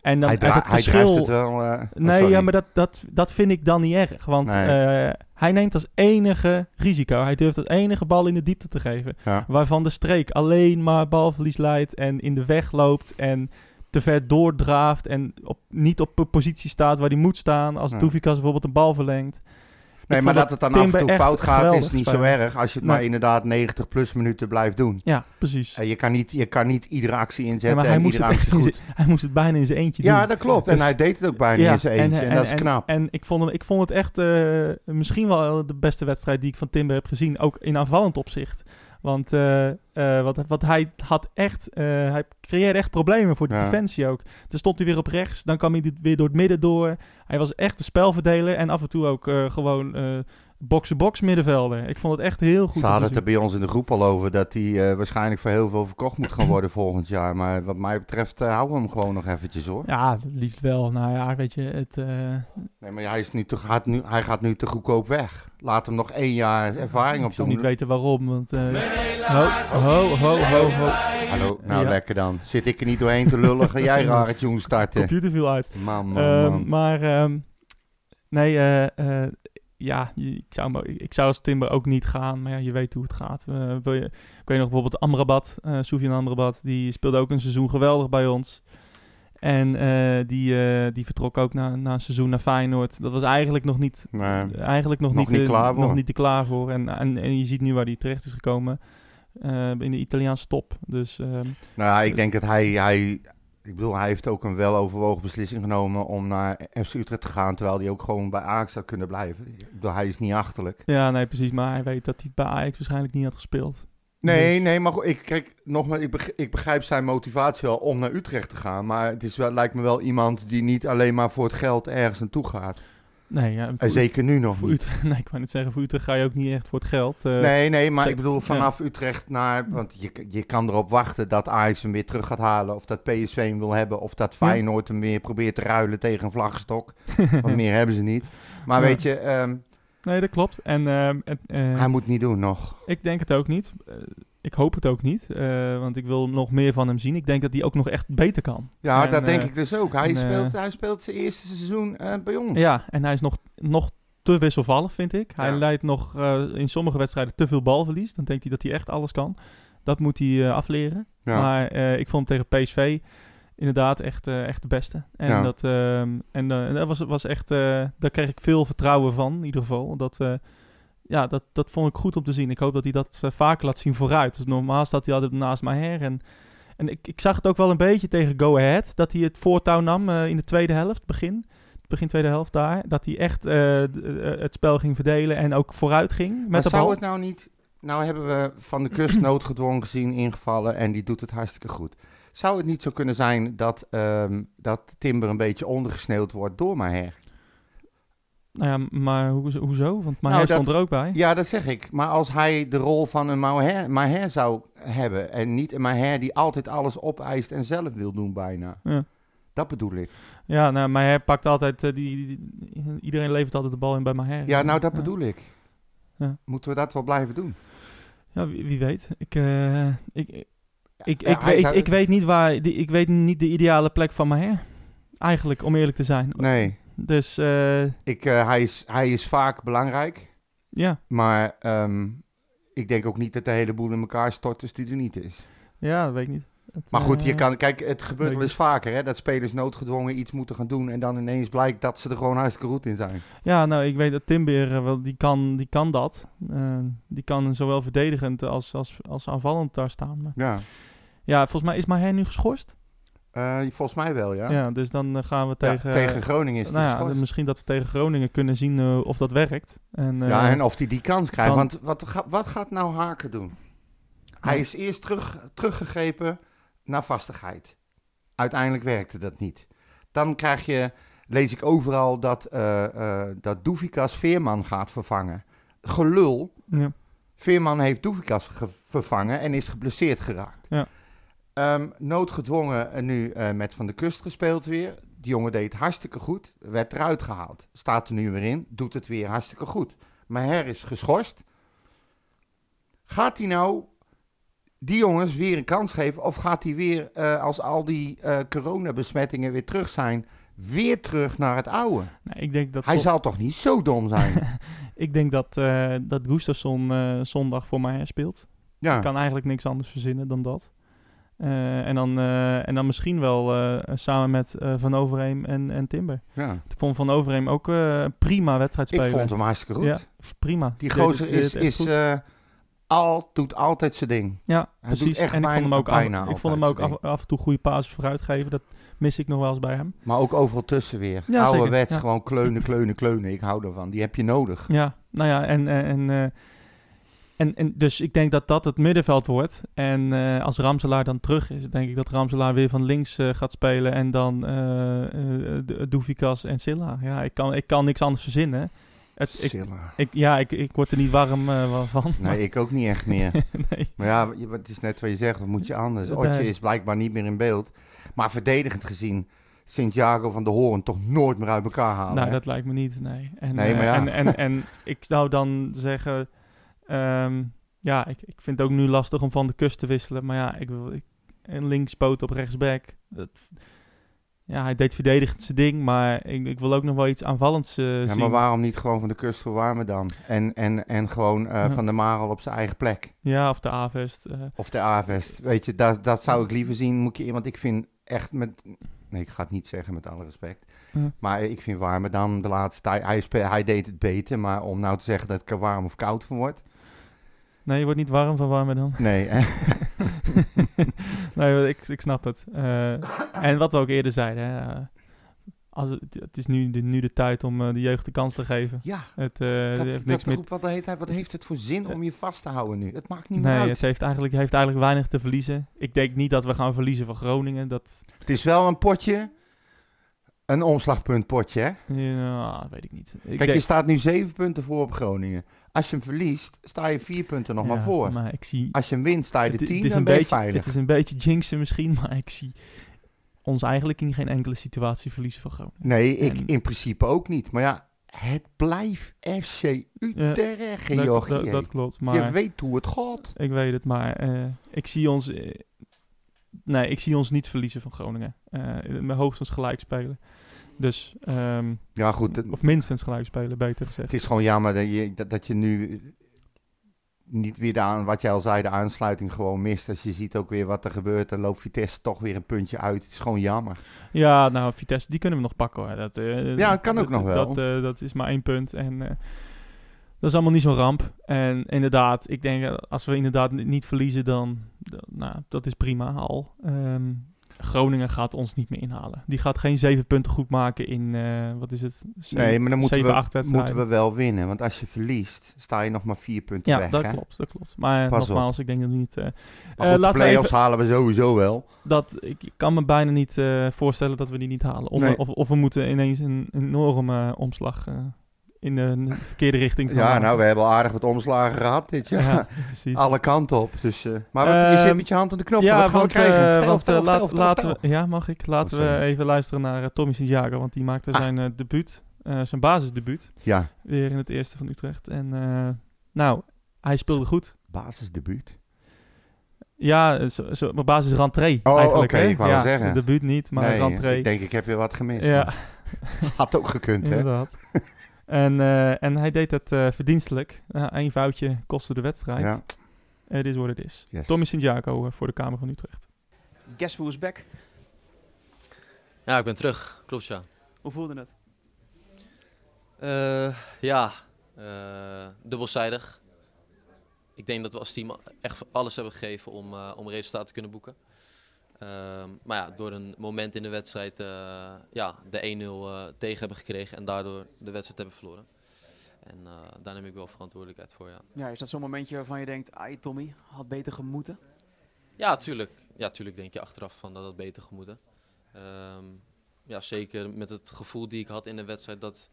En dan hij, en dra- dat hij verschil... drijft het wel. eh, oh, Nee, sorry. ja, maar dat, dat, dat vind ik dan niet erg. Want Nee. eh, hij neemt als enige risico. Hij durft als enige bal in de diepte te geven. Ja. Waarvan de streek alleen maar balverlies leidt en in de weg loopt en te ver doordraaft en op, niet op een positie staat waar hij moet staan. Als Ja. Doefikas bijvoorbeeld een bal verlengt. Nee, Ik maar dat vond het dan af Timber en toe echt fout gaat, is geweldig niet zo spelen. erg. Als je het Nee. maar inderdaad 90 plus minuten blijft doen. Ja, precies. En je, kan niet, je kan niet iedere actie inzetten Ja, maar hij en moest, iedere het actie echt in goed. zijn- hij moest het bijna in zijn eentje doen. Ja, dat klopt. En Dus- hij deed het ook bijna in zijn eentje. En, dat is knap. En, ik, vond hem, ik vond het echt eh, misschien wel de beste wedstrijd die ik van Timber heb gezien. Ook in aanvallend opzicht. Want eh, eh, wat, wat hij had echt, eh, hij creëerde echt problemen voor de Ja. defensie ook. Dan stond hij weer op rechts, dan kwam hij dit weer door het midden door. Hij was echt de spelverdeler en af en toe ook eh, gewoon eh, box-to-box middenvelder. Ik vond het echt heel goed. Ze om te hadden het zien. er bij ons in de groep al over dat hij eh, waarschijnlijk voor heel veel verkocht moet gaan worden volgend jaar. Maar wat mij betreft eh, houden we hem gewoon nog eventjes hoor. Ja, het liefst wel. Nou ja, weet je, het... eh, Nee, maar hij, is nu te, gaat nu, hij gaat nu te goedkoop weg. Laat hem nog één jaar ervaring ik zou opdoen. niet weten waarom, want... eh, ho, ho, ho, ho, ho. Hallo, nou Ja. lekker dan. Zit ik er niet doorheen te lullen, ga jij rare tune starten. Computer viel uit. Man, man, Ehm, man. maar ehm, nee, eh, eh, ja, je- ik zou, hem- ik zou als Timber ook niet gaan, maar ja, je weet hoe het gaat. Eh, wil je, ik weet nog bijvoorbeeld Amrabat, eh Soufiane Amrabat, die speelde ook een seizoen geweldig bij ons. En eh, die, eh, die vertrok ook na, na een seizoen naar Feyenoord. Dat was eigenlijk nog niet, Maar eigenlijk nog, nog niet, niet eh, klaar voor. nog niet te klaar voor. En, en, en je ziet nu waar hij terecht is gekomen eh, in de Italiaanse top. Dus ehm, nou, ja, ik denk dat hij, hij... Ik bedoel, hij heeft ook een weloverwogen beslissing genomen om naar FC Utrecht te gaan. Terwijl hij ook gewoon bij Ajax had kunnen blijven. Ik bedoel, hij is niet achterlijk. ja, nee, precies. Maar hij weet dat hij het bij Ajax waarschijnlijk niet had gespeeld. Nee, Dus- nee, maar goed, ik, kijk, nogmaals, ik, beg- ik begrijp zijn motivatie wel om naar Utrecht te gaan. Maar het is wel, lijkt me wel iemand die niet alleen maar voor het geld ergens naartoe gaat. Nee, ja, En zeker nu nog Voor niet. Utrecht, nee, ik wou net zeggen, voor Utrecht ga je ook niet echt voor het geld. eh, Nee, nee, maar ze- ik bedoel vanaf Utrecht naar... Want je, je kan erop wachten dat Ajax hem weer terug gaat halen. Of dat PSV hem wil hebben. Of dat Ja. Feyenoord hem weer probeert te ruilen tegen een vlaggstok. want meer hebben ze niet. Maar Ja. weet je, ehm, nee, dat klopt. En ehm, het, eh, hij moet niet doen nog. ik denk het ook niet. Eh, ik hoop het ook niet, eh, want ik wil nog meer van hem zien. Ik denk dat hij ook nog echt beter kan. Ja, En, dat denk eh, ik dus ook. Hij, en, eh, speelt, hij speelt zijn eerste seizoen eh, bij ons. Ja, en hij is nog, nog te wisselvallig, vind ik. Hij Ja. leidt nog eh, in sommige wedstrijden te veel balverlies. Dan denkt hij dat hij echt alles kan. Dat moet hij eh, afleren. Ja. Maar eh, ik vond hem tegen PSV inderdaad echt, eh, echt de beste. En, Ja. dat, ehm, en eh, dat was, was echt, eh, daar kreeg ik veel vertrouwen van in ieder geval. Dat, eh, ja, dat, dat vond ik goed om te zien. Ik hoop dat hij dat eh, vaker laat zien vooruit. Dus normaal staat hij altijd naast mij her. En, en ik, ik zag het ook wel een beetje tegen Go Ahead. Dat hij het voortouw nam eh, in de tweede helft, begin. Begin tweede helft daar. Dat hij echt eh, d- eh, het spel ging verdelen en ook vooruit ging met maar de zou bal. het nou niet... Nou hebben we Van de Kust noodgedwongen gezien ingevallen en die doet het hartstikke goed. Zou het niet zo kunnen zijn dat, ehm, dat Timber een beetje ondergesneeuwd wordt door Maher? Nou ja, maar hoezo? hoezo? Want maar Nou, hij dat- stond er ook bij. Ja, dat zeg ik. Maar als hij de rol van een Maher, Maher zou hebben en niet een Maher die altijd alles opeist en zelf wil doen bijna. Ja. Dat bedoel ik. Ja, nou, Maher pakt altijd... eh, die, die- iedereen levert altijd de bal in bij Maher. Ja, nou dat Ja. bedoel ik. Ja. Moeten we dat wel blijven doen? Ja, wie, wie weet. Ik, eh, ik, ik, ik, Ja, ik, hij ik, zou- ik weet niet waar... die- ik weet niet de ideale plek van Maher. Eigenlijk, om eerlijk te zijn. Nee, Dus eh, ik, eh, hij, is, hij is vaak belangrijk. ja. Maar ehm, ik denk ook niet dat de hele boel in elkaar stort, dus die er niet is. ja, dat weet ik niet. Het, Maar goed, je eh, kan, kijk, het gebeurt weet wel ik eens vaker, hè, dat spelers noodgedwongen iets moeten gaan doen en dan ineens blijkt dat ze er gewoon hartstikke goed in zijn. Ja, nou, ik weet dat Timber, eh, wel, die, kan, die kan dat. Eh, die kan zowel verdedigend als, als, als aanvallend daar staan. Maar, Ja. ja, volgens mij is Maher nu geschorst. Eh, volgens mij wel, ja. Ja, Ja, dus dan eh, gaan we tegen... tegen, Groningen is het nou ja, geschorst. misschien dat we tegen Groningen kunnen zien eh, of dat werkt. En, eh, Ja, en of hij die kans krijgt. dan- Want wat, ga- wat gaat nou Haken doen? Hij is eerst terug, teruggegrepen naar vastigheid. Uiteindelijk werkte dat niet. Dan krijg je, lees ik overal, dat, eh eh dat Doefikas Veerman gaat vervangen. Gelul. ja. Veerman heeft Doefikas ge- vervangen en is geblesseerd geraakt. Ja. Ehm, noodgedwongen eh, nu eh, met Van de Kust gespeeld weer. Die jongen deed het hartstikke goed. Werd eruit gehaald. Staat er nu weer in. Doet het weer hartstikke goed. Maar her is geschorst. Gaat hij nou die jongens weer een kans geven? Of gaat hij weer, eh, als al die eh, coronabesmettingen weer terug zijn, weer terug naar het oude? Nou, ik denk dat, Hij zo- zal toch niet zo dom zijn? ik denk dat, eh dat Gustafsson eh, zondag voor mij speelt. ja. Ik kan eigenlijk niks anders verzinnen dan dat. Eh, en, dan, eh, en dan misschien wel eh, samen met eh, Van Overheem en, en Timber. ja. Ik vond Van Overheem ook eh, een prima wedstrijd Ik spelen. vond hem hartstikke goed. Ja, prima. Die Deed het- gozer deed het is, echt is goed. eh, al, doet altijd zijn ding. ja, hij doet precies. echt en ik vond hem bijna- ook, af, bijna ik vond altijd hem ook zijn af, af en toe goede pases vooruitgeven. Dat mis ik nog wel eens bij hem. Maar ook overal tussen weer. Ja, zeker, Ouderwets, ja. gewoon kleunen, kleunen, kleunen. Ik hou ervan. Die heb je nodig. Ja, nou ja, en, en, en, eh, en, en dus ik denk dat dat het middenveld wordt. En eh, als Ramselaar dan terug is, denk ik dat Ramselaar weer van links eh, gaat spelen. En dan eh eh, D- Doefikas en Silla. Ja, ik kan, ik kan niks anders verzinnen. Het, ik, Silla. ik, ja, ik, ik word er niet warm eh, van. maar- Nee, ik ook niet echt meer. nee. maar ja, je- het is net wat je zegt. Wat moet je anders? Nee. Otje is blijkbaar niet meer in beeld. Maar verdedigend gezien, Santiago van de Hoorn toch nooit meer uit elkaar halen. nou, hè? dat lijkt me niet, nee. En, Nee, eh, maar ja. en, en, en ik zou dan zeggen... ehm, ja, ik, ik vind het ook nu lastig om van de kust te wisselen. Maar ja, ik wil ik, een linkspoot op rechtsback. Dat, ja, hij deed verdedigend zijn ding. Maar ik, ik wil ook nog wel iets aanvallends eh, ja, zien. maar waarom niet gewoon van de kust voor Warmerdam? En, en, en gewoon eh, Ja. van de Marel op zijn eigen plek. Ja, of de Avest. eh, Of de Avest. Weet je, dat, dat zou ik liever zien. Moet je, want ik vind echt met... Nee, ik ga het niet zeggen met alle respect. Ja. Maar ik vind Warmerdam de laatste tijd... Hij, spe- hij deed het beter, maar om nou te zeggen dat ik er warm of koud van word... nee, je wordt niet warm van warme dan. Nee, hè? nee, ik, ik snap het. Eh, en wat we ook eerder zeiden. Hè, eh, als het, het is nu de, nu de tijd om eh, de jeugd de kans te geven. Ja, Het, eh, dat, heeft dat, niks meer roept wat de hele tijd. Wat heeft het voor zin om je vast te houden nu? Het maakt niet meer Nee, uit. het heeft eigenlijk, heeft eigenlijk weinig te verliezen. Ik denk niet dat we gaan verliezen van Groningen. Dat Het is wel een potje... Een omslagpuntpotje, hè? ja, dat eh, ah, weet ik niet. Ik Kijk, je denk- staat nu zeven punten voor op Groningen. Als je hem verliest, sta je vier punten nog maar Ja, voor. Maar ik zie, Als je hem wint, sta je de het, tien, het is dan een ben je beetje, veilig. het is een beetje jinxen misschien, maar ik zie ons eigenlijk in geen enkele situatie verliezen van Groningen. Nee, ik En- in principe ook niet. Maar ja, het blijft FC Utrecht, Dat- Georgië. dat, dat klopt, Je maar weet hoe het gaat. ik weet het. Maar eh, ik zie ons... eh, nee, ik zie ons niet verliezen van Groningen. Eh maar hoogstens gelijk spelen. Dus, ehm, Ja, goed. Het, of minstens gelijk spelen, beter het gezegd. is gewoon jammer dat je, dat, dat je nu niet weer de aan, wat jij al zei, de aansluiting gewoon mist. Als je ziet ook weer wat er gebeurt, dan loopt Vitesse toch weer een puntje uit. Het is gewoon jammer. Ja, nou, Vitesse, die kunnen we nog pakken hoor. Dat, eh, Ja, dat kan ook nog wel. Dat, eh, dat is maar één punt. En eh, dat is allemaal niet zo'n ramp. En inderdaad, ik denk eh, als we inderdaad ni- niet verliezen, dan dat- nou, dat is prima al. Ehm, Groningen gaat ons niet meer inhalen. Die gaat geen zeven punten goed maken in, eh, wat is het? Zeven- Nee, maar dan moeten, zeven, we, acht wedstrijden. moeten we wel winnen. Want als je verliest, sta je nog maar vier punten Ja, weg. dat hè? klopt, dat klopt. Maar eh, Pas op. nogmaals, ik denk dat we niet... eh, Maar Eh, goed, de laten we play-offs halen we sowieso wel. dat, ik kan me bijna niet eh, voorstellen dat we die niet halen. Of, Nee. we- of, of we moeten ineens een enorme omslag eh, in de verkeerde richting gaan Ja, maken. nou, we hebben al aardig wat omslagen gehad dit jaar. Ja, precies. alle kanten op. Dus, eh, maar wat, je zit Ehm, met je hand aan de knop. ja, wat gaan want, we krijgen? eh, Vertel, want, vertel, eh, laat- vertel, vertel, laten vertel. we, ja, mag ik? Laten Oh, we sorry. even luisteren naar eh, Tommy Santiago, want die maakte Ah. zijn eh, debuut, eh, zijn basisdebuut, Ja, weer in het eerste van Utrecht. En eh, nou, hij speelde goed. basisdebuut. Ja, eh, zo, zo, op basis rentree Oh, eigenlijk. oké, hè? ik wou ja, zeggen. Debuut niet, maar nee, rentree. ik denk ik heb weer wat gemist. ja. Ja. Had ook gekund, hè? Inderdaad. en, eh, en hij deed het eh, verdienstelijk. Eén foutje kostte de wedstrijd. Ja. Het is wat het is. Yes. Tommy Santiago eh, voor de Kamer van Utrecht. Guess who's back? Ja, ik ben terug. Klopt ja. Hoe voelde het? Eh, ja, eh, dubbelzijdig. Ik denk dat we als team echt alles hebben gegeven om, eh om resultaten te kunnen boeken. Eh, Ehm, maar ja, door een moment in de wedstrijd eh, ja, de 1-0 eh, tegen hebben gekregen en daardoor de wedstrijd hebben verloren. En eh, daar neem ik wel verantwoordelijkheid voor, ja. Ja, is dat zo'n momentje waarvan je denkt, ai Tommy, had beter gemoeten? Ja, tuurlijk. Ja, tuurlijk denk je achteraf van dat dat beter gemoeten. ja, zeker met het gevoel die ik had in de wedstrijd dat,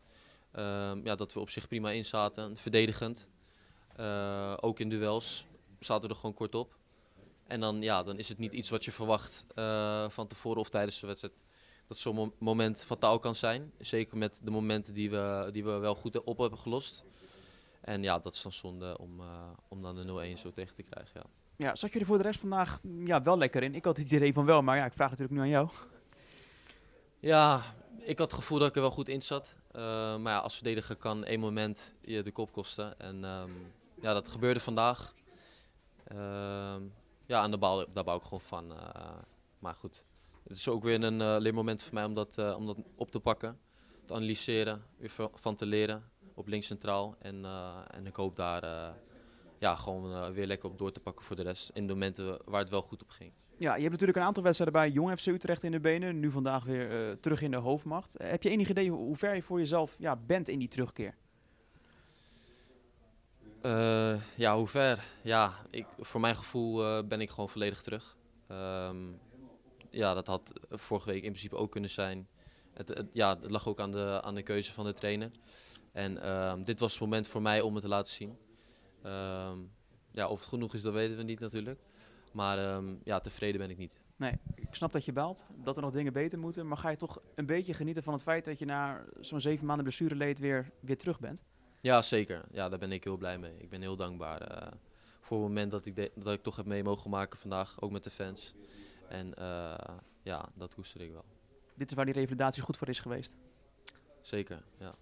ehm, ja, dat we op zich prima in zaten, verdedigend. Eh, ook in duels zaten we er gewoon kort op. En dan, ja, dan is het niet iets wat je verwacht eh, van tevoren of tijdens de wedstrijd. Dat zo'n mom- moment fataal kan zijn. Zeker met de momenten die we, die we wel goed op hebben gelost. En ja, dat is dan zonde om, eh, om dan de 0-1 zo tegen te krijgen. Ja. Ja, zat je er voor de rest vandaag mm, ja, wel lekker in? Ik had het idee van wel, maar ja, ik vraag natuurlijk nu aan jou. Ja, ik had het gevoel dat ik er wel goed in zat. Eh, maar ja, als verdediger kan één moment je de kop kosten. En ehm, ja, dat gebeurde vandaag. Ehm, ja, en daar bouw, daar bouw ik gewoon van. eh. maar goed, het is ook weer een eh, leermoment voor mij om dat, eh, om dat op te pakken. Te analyseren, weer va- van te leren op links centraal. En, eh, en ik hoop daar eh, ja, gewoon eh, weer lekker op door te pakken voor de rest. In de momenten waar het wel goed op ging. Ja, je hebt natuurlijk een aantal wedstrijden bij Jong FC Utrecht in de benen. Nu vandaag weer eh, terug in de hoofdmacht. Eh, heb je enig idee hoe hoe ver je voor jezelf ja, bent in die terugkeer? Eh, ja, hoe ver? Ja, ik, voor mijn gevoel eh, ben ik gewoon volledig terug. Ehm, ja, dat had vorige week in principe ook kunnen zijn. Het, het- ja, het lag ook aan de, aan de keuze van de trainer. En ehm, dit was het moment voor mij om het te laten zien. Ehm, ja, of het genoeg is, dat weten we niet natuurlijk. Maar ehm, ja, tevreden ben ik niet. Ik snap dat je baalt, dat er nog dingen beter moeten. Maar ga je toch een beetje genieten van het feit dat je na zo'n zeven maanden blessureleed weer, weer terug bent? Ja, zeker. Ja, daar ben ik heel blij mee. Ik ben heel dankbaar eh, voor het moment dat ik, de- dat ik toch heb mee mogen maken vandaag, ook met de fans. En eh, ja, dat koester ik wel. Dit is waar die revalidatie goed voor is geweest. Zeker, ja.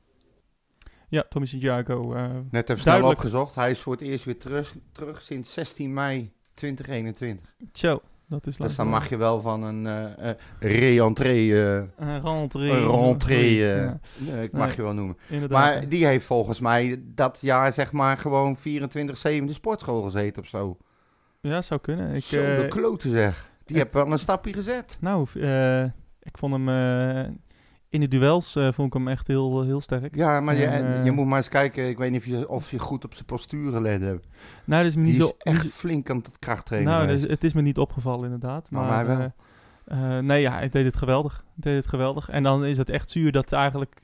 Ja, Tommy Santiago. eh Net even snel Duidelijk. opgezocht. Hij is voor het eerst weer terug, terug sinds 16 mei 2021. Tjo, dat is lang. Dus dan mag je wel van een eh eh, re-entree, eh, Een rentree. een rentree, eh, Ja, eh, ik mag Nee. je wel noemen. inderdaad. Maar die heeft volgens mij dat jaar zeg maar gewoon 24-7 de sportschool gezeten of zo. ja, zou kunnen. Ik, zo de eh, klote zeg. Die het- heeft wel een stapje gezet. nou, eh, ik vond hem eh, in de duels eh, vond ik hem echt heel, heel sterk. Ja, maar je, En, eh, je moet maar eens kijken. Ik weet niet of je, of je goed op zijn postuur gelet hebt. Nou, dat is me niet Die zo. is echt flink aan het krachttrainen nou, dat geweest. is- het is me niet opgevallen inderdaad. Oh, Maar Maar, wij wel. eh, eh, nee, ja, hij deed het geweldig. Hij deed het geweldig. En dan is het echt zuur dat eigenlijk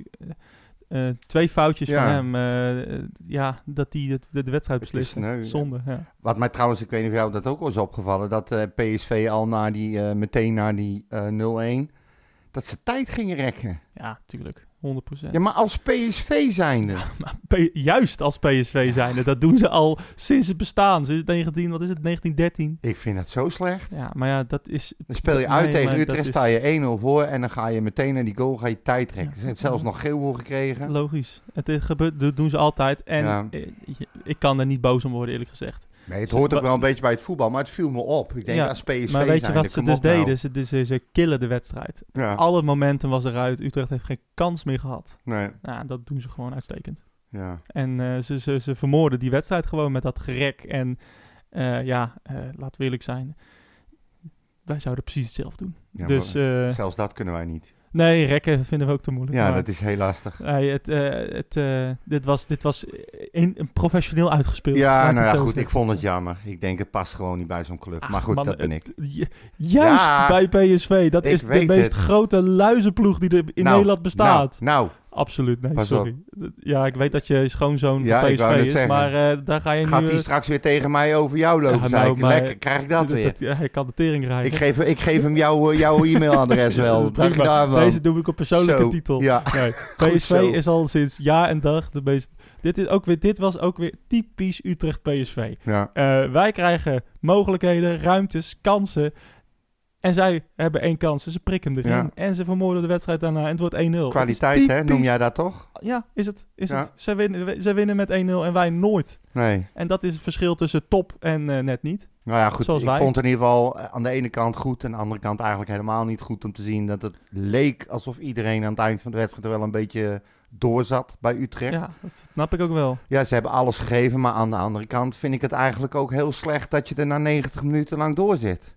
eh, eh, twee foutjes Ja. van hem, eh, eh, ja, dat hij het- de, de wedstrijd Het is beslist. sneu, ja. Zonde, ja. Wat mij trouwens, ik weet niet of jou dat ook al is opgevallen, dat eh, PSV al na die, eh, meteen na die eh 0-1, dat ze tijd gingen rekken. Ja, tuurlijk. 100 Ja, maar als PSV zijnde. P- juist als PSV zijnde. Dat doen ze al sinds het bestaan. Sinds 19, wat is het? 1913. Ik vind dat zo slecht. Ja, maar ja, dat is... Dan speel je Nee, uit tegen maar dat Utrecht, is- sta je 1-0 voor en dan ga je meteen naar die goal, ga je tijd rekken. Ze hebben zelfs nog geel voor gekregen. Logisch. Het is gebeurd, dat doen ze altijd. En Ja. eh, je- ik kan er niet boos om worden, eerlijk gezegd. Nee, het hoort ook wel een beetje bij het voetbal, maar het viel me op. Ik denk Ja, als PSV Maar weet je zijnde, wat ze kom dus op nou. Ah. deden? Ze, dus, ze, ze killen de wedstrijd. Ja, Alle momentum was eruit. Utrecht heeft geen kans meer gehad. nee, Nou, dat doen ze gewoon uitstekend. ja. En eh, ze, ze, ze vermoorden die wedstrijd gewoon met dat gerek. En eh, ja, eh laten we eerlijk zijn. Wij zouden precies hetzelfde doen. Ja, dus maar eh, zelfs dat kunnen wij niet. Nee, rekken vinden we ook te moeilijk. Ja, maar- dat is heel lastig. Nee, het, eh, het, eh, dit was, dit was in, een professioneel uitgespeeld. laat Ja, ik nou het ja, zo goed, ik zeggen. vond het jammer. Ik denk het past gewoon niet bij zo'n club. Ach, maar goed, man, dat ben ik. het- ju- juist Ja, bij PSV. Dat ik is de weet meest het. grote luizenploeg die er in Nou, Nederland bestaat. Nou, Absoluut, nee, Pas sorry. Dat- Ja, ik weet dat je schoonzoon Ja, van ik PSV wou net is, zeggen. maar eh, daar ga je nou gaat nu... hij eh, straks weer tegen mij over jou lopen? Ja, zei nou, ik. maar- Lekker, krijg ik dat weer? dat- ja, hij kan de tering rijden. ik, geef, ik geef hem jouw, eh, jouw e-mailadres Ja, dat wel. is Dank je prima. daarvan. Deze doe ik op persoonlijke Zo, titel. Oh, Ja, Nee, PSV zo. is al sinds jaar en dag de meest... Dit, is ook weer, dit was ook weer typisch Utrecht PSV. ja. Eh, wij krijgen mogelijkheden, ruimtes, kansen. En zij hebben één kans. en Ze prikken hem erin. Ja. En ze vermoorden de wedstrijd daarna. En het wordt 1-0. Het is kwaliteit hè, noem typisch- jij dat toch? Ja, is het. Is Ja. het. Zij, winnen, we- zij winnen met 1-0 en wij nooit. Nee. En dat is het verschil tussen top en eh, net niet. Nou ja, goed. Zoals ik wij. vond het in ieder geval eh, aan de ene kant goed en aan de andere kant eigenlijk helemaal niet goed om te zien dat het leek alsof iedereen aan het eind van de wedstrijd er wel een beetje doorzat bij Utrecht. Ja, dat snap ik ook wel. Ja, ze hebben alles gegeven, maar aan de andere kant vind ik het eigenlijk ook heel slecht dat je er na 90 minuten lang door zit.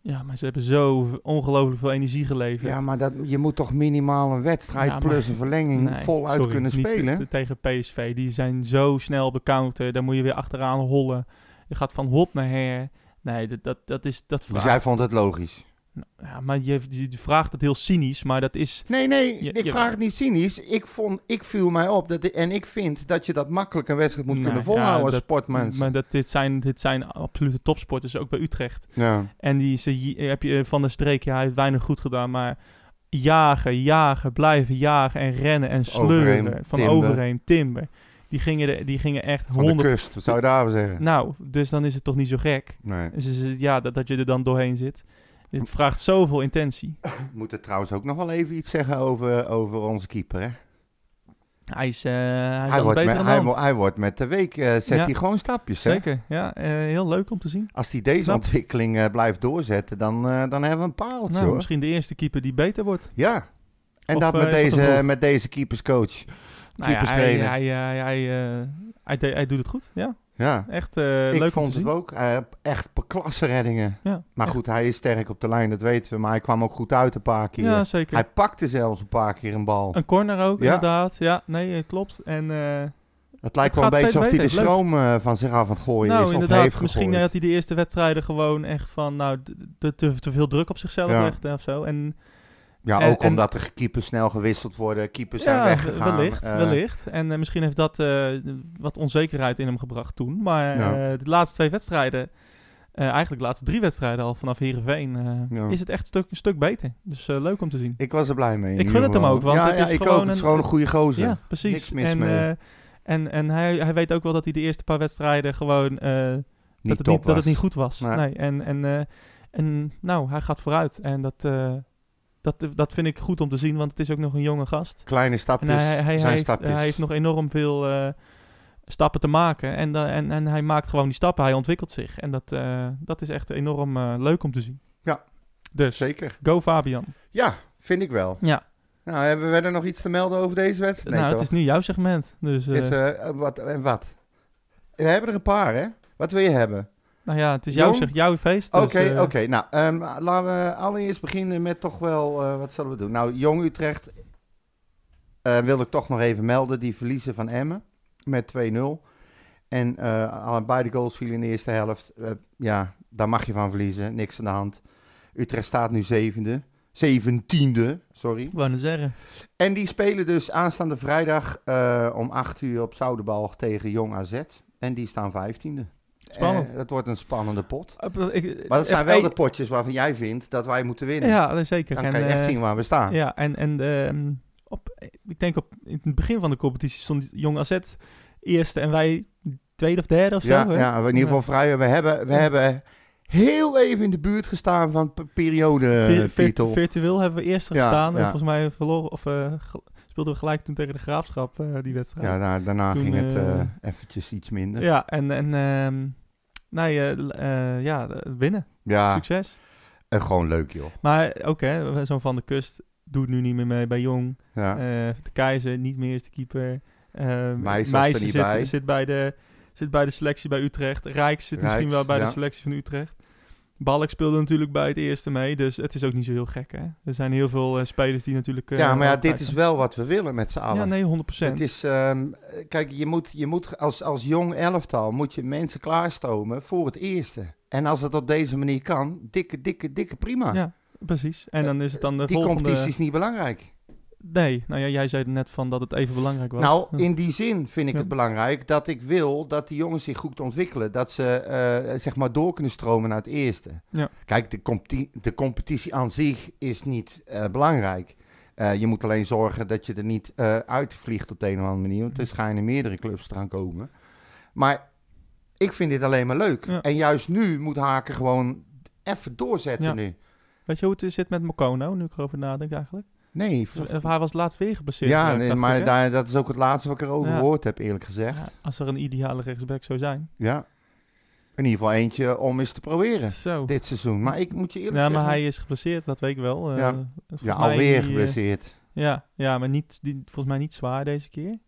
Ja, maar ze hebben zo ongelooflijk veel energie geleverd. Ja, maar dat, je moet toch minimaal een wedstrijd Ja, maar- plus een verlenging Nee, voluit sorry, kunnen niet te- spelen. te- tegen PSV. Die zijn zo snel op de counter. Daar moet je weer achteraan hollen. Je gaat van hot naar her. Nee, dat, dat, dat is... Dat Dus vraagt, jij vond het logisch. Nou, ja, maar je, je vraagt het heel cynisch, maar dat is... Nee, nee, Ja, ik jawel. vraag het niet cynisch. Ik, vond, ik viel mij op dat, en ik vind dat je dat makkelijk een wedstrijd moet Nee, kunnen ja, volhouden als dat- sportmens. Maar dat, dit, zijn, dit zijn absolute topsporters, ook bij Utrecht. ja. En die ze, je- heb je eh, van de streek, ja, hij heeft weinig goed gedaan, maar jagen, jagen, blijven jagen en rennen en sleuren. Overeem, van timber. overheen, timber. Die gingen, de, die gingen echt Van de 100... kust, wat zou je daarvan zeggen? Nou, dus dan is het toch niet zo gek. Nee. Dus is het- ja, dat, dat je er dan doorheen zit. Dit vraagt zoveel intentie. We moeten trouwens ook nog wel even iets zeggen over, over onze keeper. Hè? Hij is, eh, hij is Hij, al wordt beter met, aan de hij, hand. wo- hij wordt met de week, eh, zet Ja. hij gewoon stapjes. Hè? Zeker, ja. eh, heel leuk om te zien. Als hij deze Knap. ontwikkeling eh, blijft doorzetten, dan, eh, dan hebben we een pareltje Nou, hoor. misschien de eerste keeper die beter wordt. Ja. En Of, dat eh, met, is dat te deze, vroeg? met deze keeperscoach. Nou ja, hij, Keeperstrainer. hij, hij, hij, eh, hij, de- hij doet het goed. Ja, Ja. echt eh, leuk ik om vond te het zien. ook eh, echt per klasse reddingen. Ja, Maar echt. goed, hij is sterk op de lijn, dat weten we. Maar hij kwam ook goed uit een paar keer. Ja, zeker. hij pakte zelfs een paar keer een bal. Een corner ook, Ja. inderdaad. Ja, nee, eh, klopt. En eh, het Het lijkt wel een gaat beetje alsof steeds hij de beter, leuk. stroom eh, van zich af aan het gooien nou, is. Of heeft inderdaad. Misschien gegooid. had hij de eerste wedstrijden gewoon echt van, nou, d- d- te, te veel druk op zichzelf Ja. legt eh, of zo. En Ja, En- ook en- omdat de keepers snel gewisseld worden. Keepers zijn weggegaan. Wellicht, eh, wellicht. En eh, misschien heeft dat eh, wat onzekerheid in hem gebracht toen. Maar Ja. eh, de laatste twee wedstrijden, eh, eigenlijk de laatste drie wedstrijden al vanaf Heerenveen, eh, Ja. is het echt een stuk, een stuk beter. Dus eh, leuk om te zien. Ik was er blij mee. in Ik gun ieder het hem geval. ook, want ja, het ja, is ik gewoon ook. Het is een- gewoon een goede gozer. Ja, precies. Niks mis en, mee. eh, en, en hij, hij weet ook wel dat hij de eerste paar wedstrijden gewoon... eh, niet dat, het top niet, dat was. het niet goed was. Nee. Nee. en, en, eh, en nou, hij gaat vooruit. En dat, eh, dat, dat vind ik goed om te zien, want het is ook nog een jonge gast. Kleine En stapjes hij, hij, hij zijn heeft, eh, stapjes. hij heeft nog enorm veel eh, stappen te maken. En, da- en, en hij maakt gewoon die stappen. Hij ontwikkelt zich. En dat, eh, dat is echt enorm eh, leuk om te zien. Ja. Dus, Zeker. go Fabian. Ja, vind ik wel. Ja. Nou, hebben we verder nog iets te melden over deze wedstrijd? nou, toch? het is nu jouw segment. Dus, eh, Is, eh, wat, en wat? We hebben er een paar, hè? Wat wil je hebben? nou ja, het is jouw, Jong? zeg, jouw feest. Oké, dus, oké. eh, Nou, ehm, laten we allereerst beginnen met toch wel... eh, wat zullen we doen? Nou, Jong Utrecht eh, wil ik toch nog even melden. Die verliezen van Emmen met 2-0. En eh, al- beide goals vielen in de eerste helft. Eh, ja, daar mag je van verliezen. Niks aan de hand. Utrecht staat nu zevende. Zeventiende, sorry. Ik wou net zeggen. En die spelen dus aanstaande vrijdag eh, om 8 uur op Zoudenbalg tegen Jong AZ. En die staan 15e. Spannend. Eh, dat wordt een spannende pot. Eh, ik- Maar dat zijn eh, wel eh, de potjes waarvan jij vindt dat wij moeten winnen. Ja, zeker. Dan En, kan je echt eh, zien waar we staan. Ja, en, en ehm, op, ik denk op, in het begin van de competitie stond Jong AZ eerste en wij tweede of derde of zo. ja, hè? ja, in ieder geval Ja. vrij. We hebben, we Ja. hebben heel even in de buurt gestaan van p- periode Vir- vir- titel. virtueel hebben we eerst eh, Ja, gestaan. ja. En volgens mij verloren, of, eh, ge- speelden we gelijk toen tegen de graafschap eh, die wedstrijd. Ja, dus- Ja, daar- daarna Toen, ging het eh, eh, eventjes iets minder. en, en ehm, nee, eh, l- eh, ja, eh, winnen. Ja, Succes. en gewoon leuk joh. Maar ook hè, zo'n Van de Kust doet nu niet meer mee bij Jong. Ja. Eh, de Keizer, niet meer eerste keeper. Ehm Meijs was Meijs er niet zit, bij. Zit, bij de, zit bij de selectie bij Utrecht. Rijks zit misschien Rijks, wel bij ja. de selectie van Utrecht. Balk speelde natuurlijk bij het eerste mee, dus het is ook niet zo heel gek. Hè? Er zijn heel veel eh, spelers die natuurlijk. eh, ja, maar ja, altijd- dit is wel wat we willen met z'n allen. Ja, nee, 100 Het is, ehm, kijk, je moet, je moet als, als jong elftal moet je mensen klaarstomen voor het eerste. En als het op deze manier kan, dikke, dikke, dikke prima. Ja, precies. En dan is het dan de Die competitie volgende. is niet belangrijk. Nee, nou ja, jij zei net van dat het even belangrijk was. Nou, Ja. in die zin vind Hm. ik Ja. het belangrijk dat ik wil dat die jongens zich goed ontwikkelen. Dat ze eh, zeg maar door kunnen stromen naar het eerste. Ja. Kijk, de, competi- de competitie aan zich is niet eh, belangrijk. Eh, je moet alleen zorgen dat je er niet eh uitvliegt op de een of andere manier. Want er schijnen meerdere clubs eraan komen. Maar ik vind dit alleen maar leuk. Ja. En juist nu moet Haken gewoon even doorzetten Ja. nu. Weet je hoe het is- zit met Mokono, nu ik erover nadenk eigenlijk? Nee, v- Of Hij was laatst weer geblesseerd. ja, geraakt, nee, dacht ik, maar hè? daar, dat is ook het laatste wat ik erover Ja. gehoord heb, eerlijk gezegd. Ja, als er een ideale rechtsback zou zijn. Ja. In ieder geval eentje om eens te proberen Zo. dit seizoen. Maar ik moet je eerlijk Ja, maar zeggen. hij is geblesseerd, dat weet ik wel. Eh, Ja. volgens ja, mij alweer die, eh, geblesseerd. ja, ja, maar niet, die, volgens mij niet zwaar deze keer.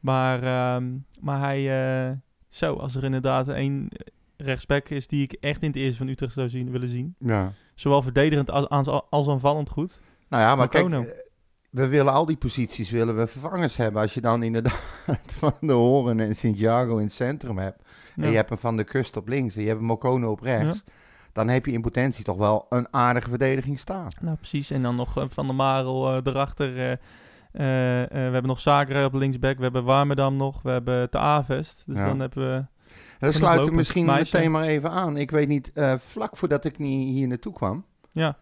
Maar, ehm, maar hij... eh, zo, als er inderdaad één rechtsback is die ik echt in het eerste van Utrecht zou zien, willen zien. Ja. Zowel verdedigend als, als, als aanvallend goed. Nou ja, maar kijk, Marcano. eh, we willen al die posities willen we vervangers hebben. Als je dan inderdaad Van de Horen en Santiago in het centrum hebt. En Ja. je hebt hem Van de Kust op links en je hebt hem Mokono op rechts. Dan heb je in potentie toch wel een aardige verdediging staan. Nou, precies. En dan nog eh, Van der Marel eh, erachter. eh, eh, eh, we hebben nog Zagra op linksback. We hebben Warmerdam nog. We hebben Te Avest. Dus Ja. dan hebben we... Dan nog sluit ik lopend. misschien Meijsen. meteen maar even aan. Ik weet niet, eh, vlak voordat ik nie- hier naartoe kwam. Ja.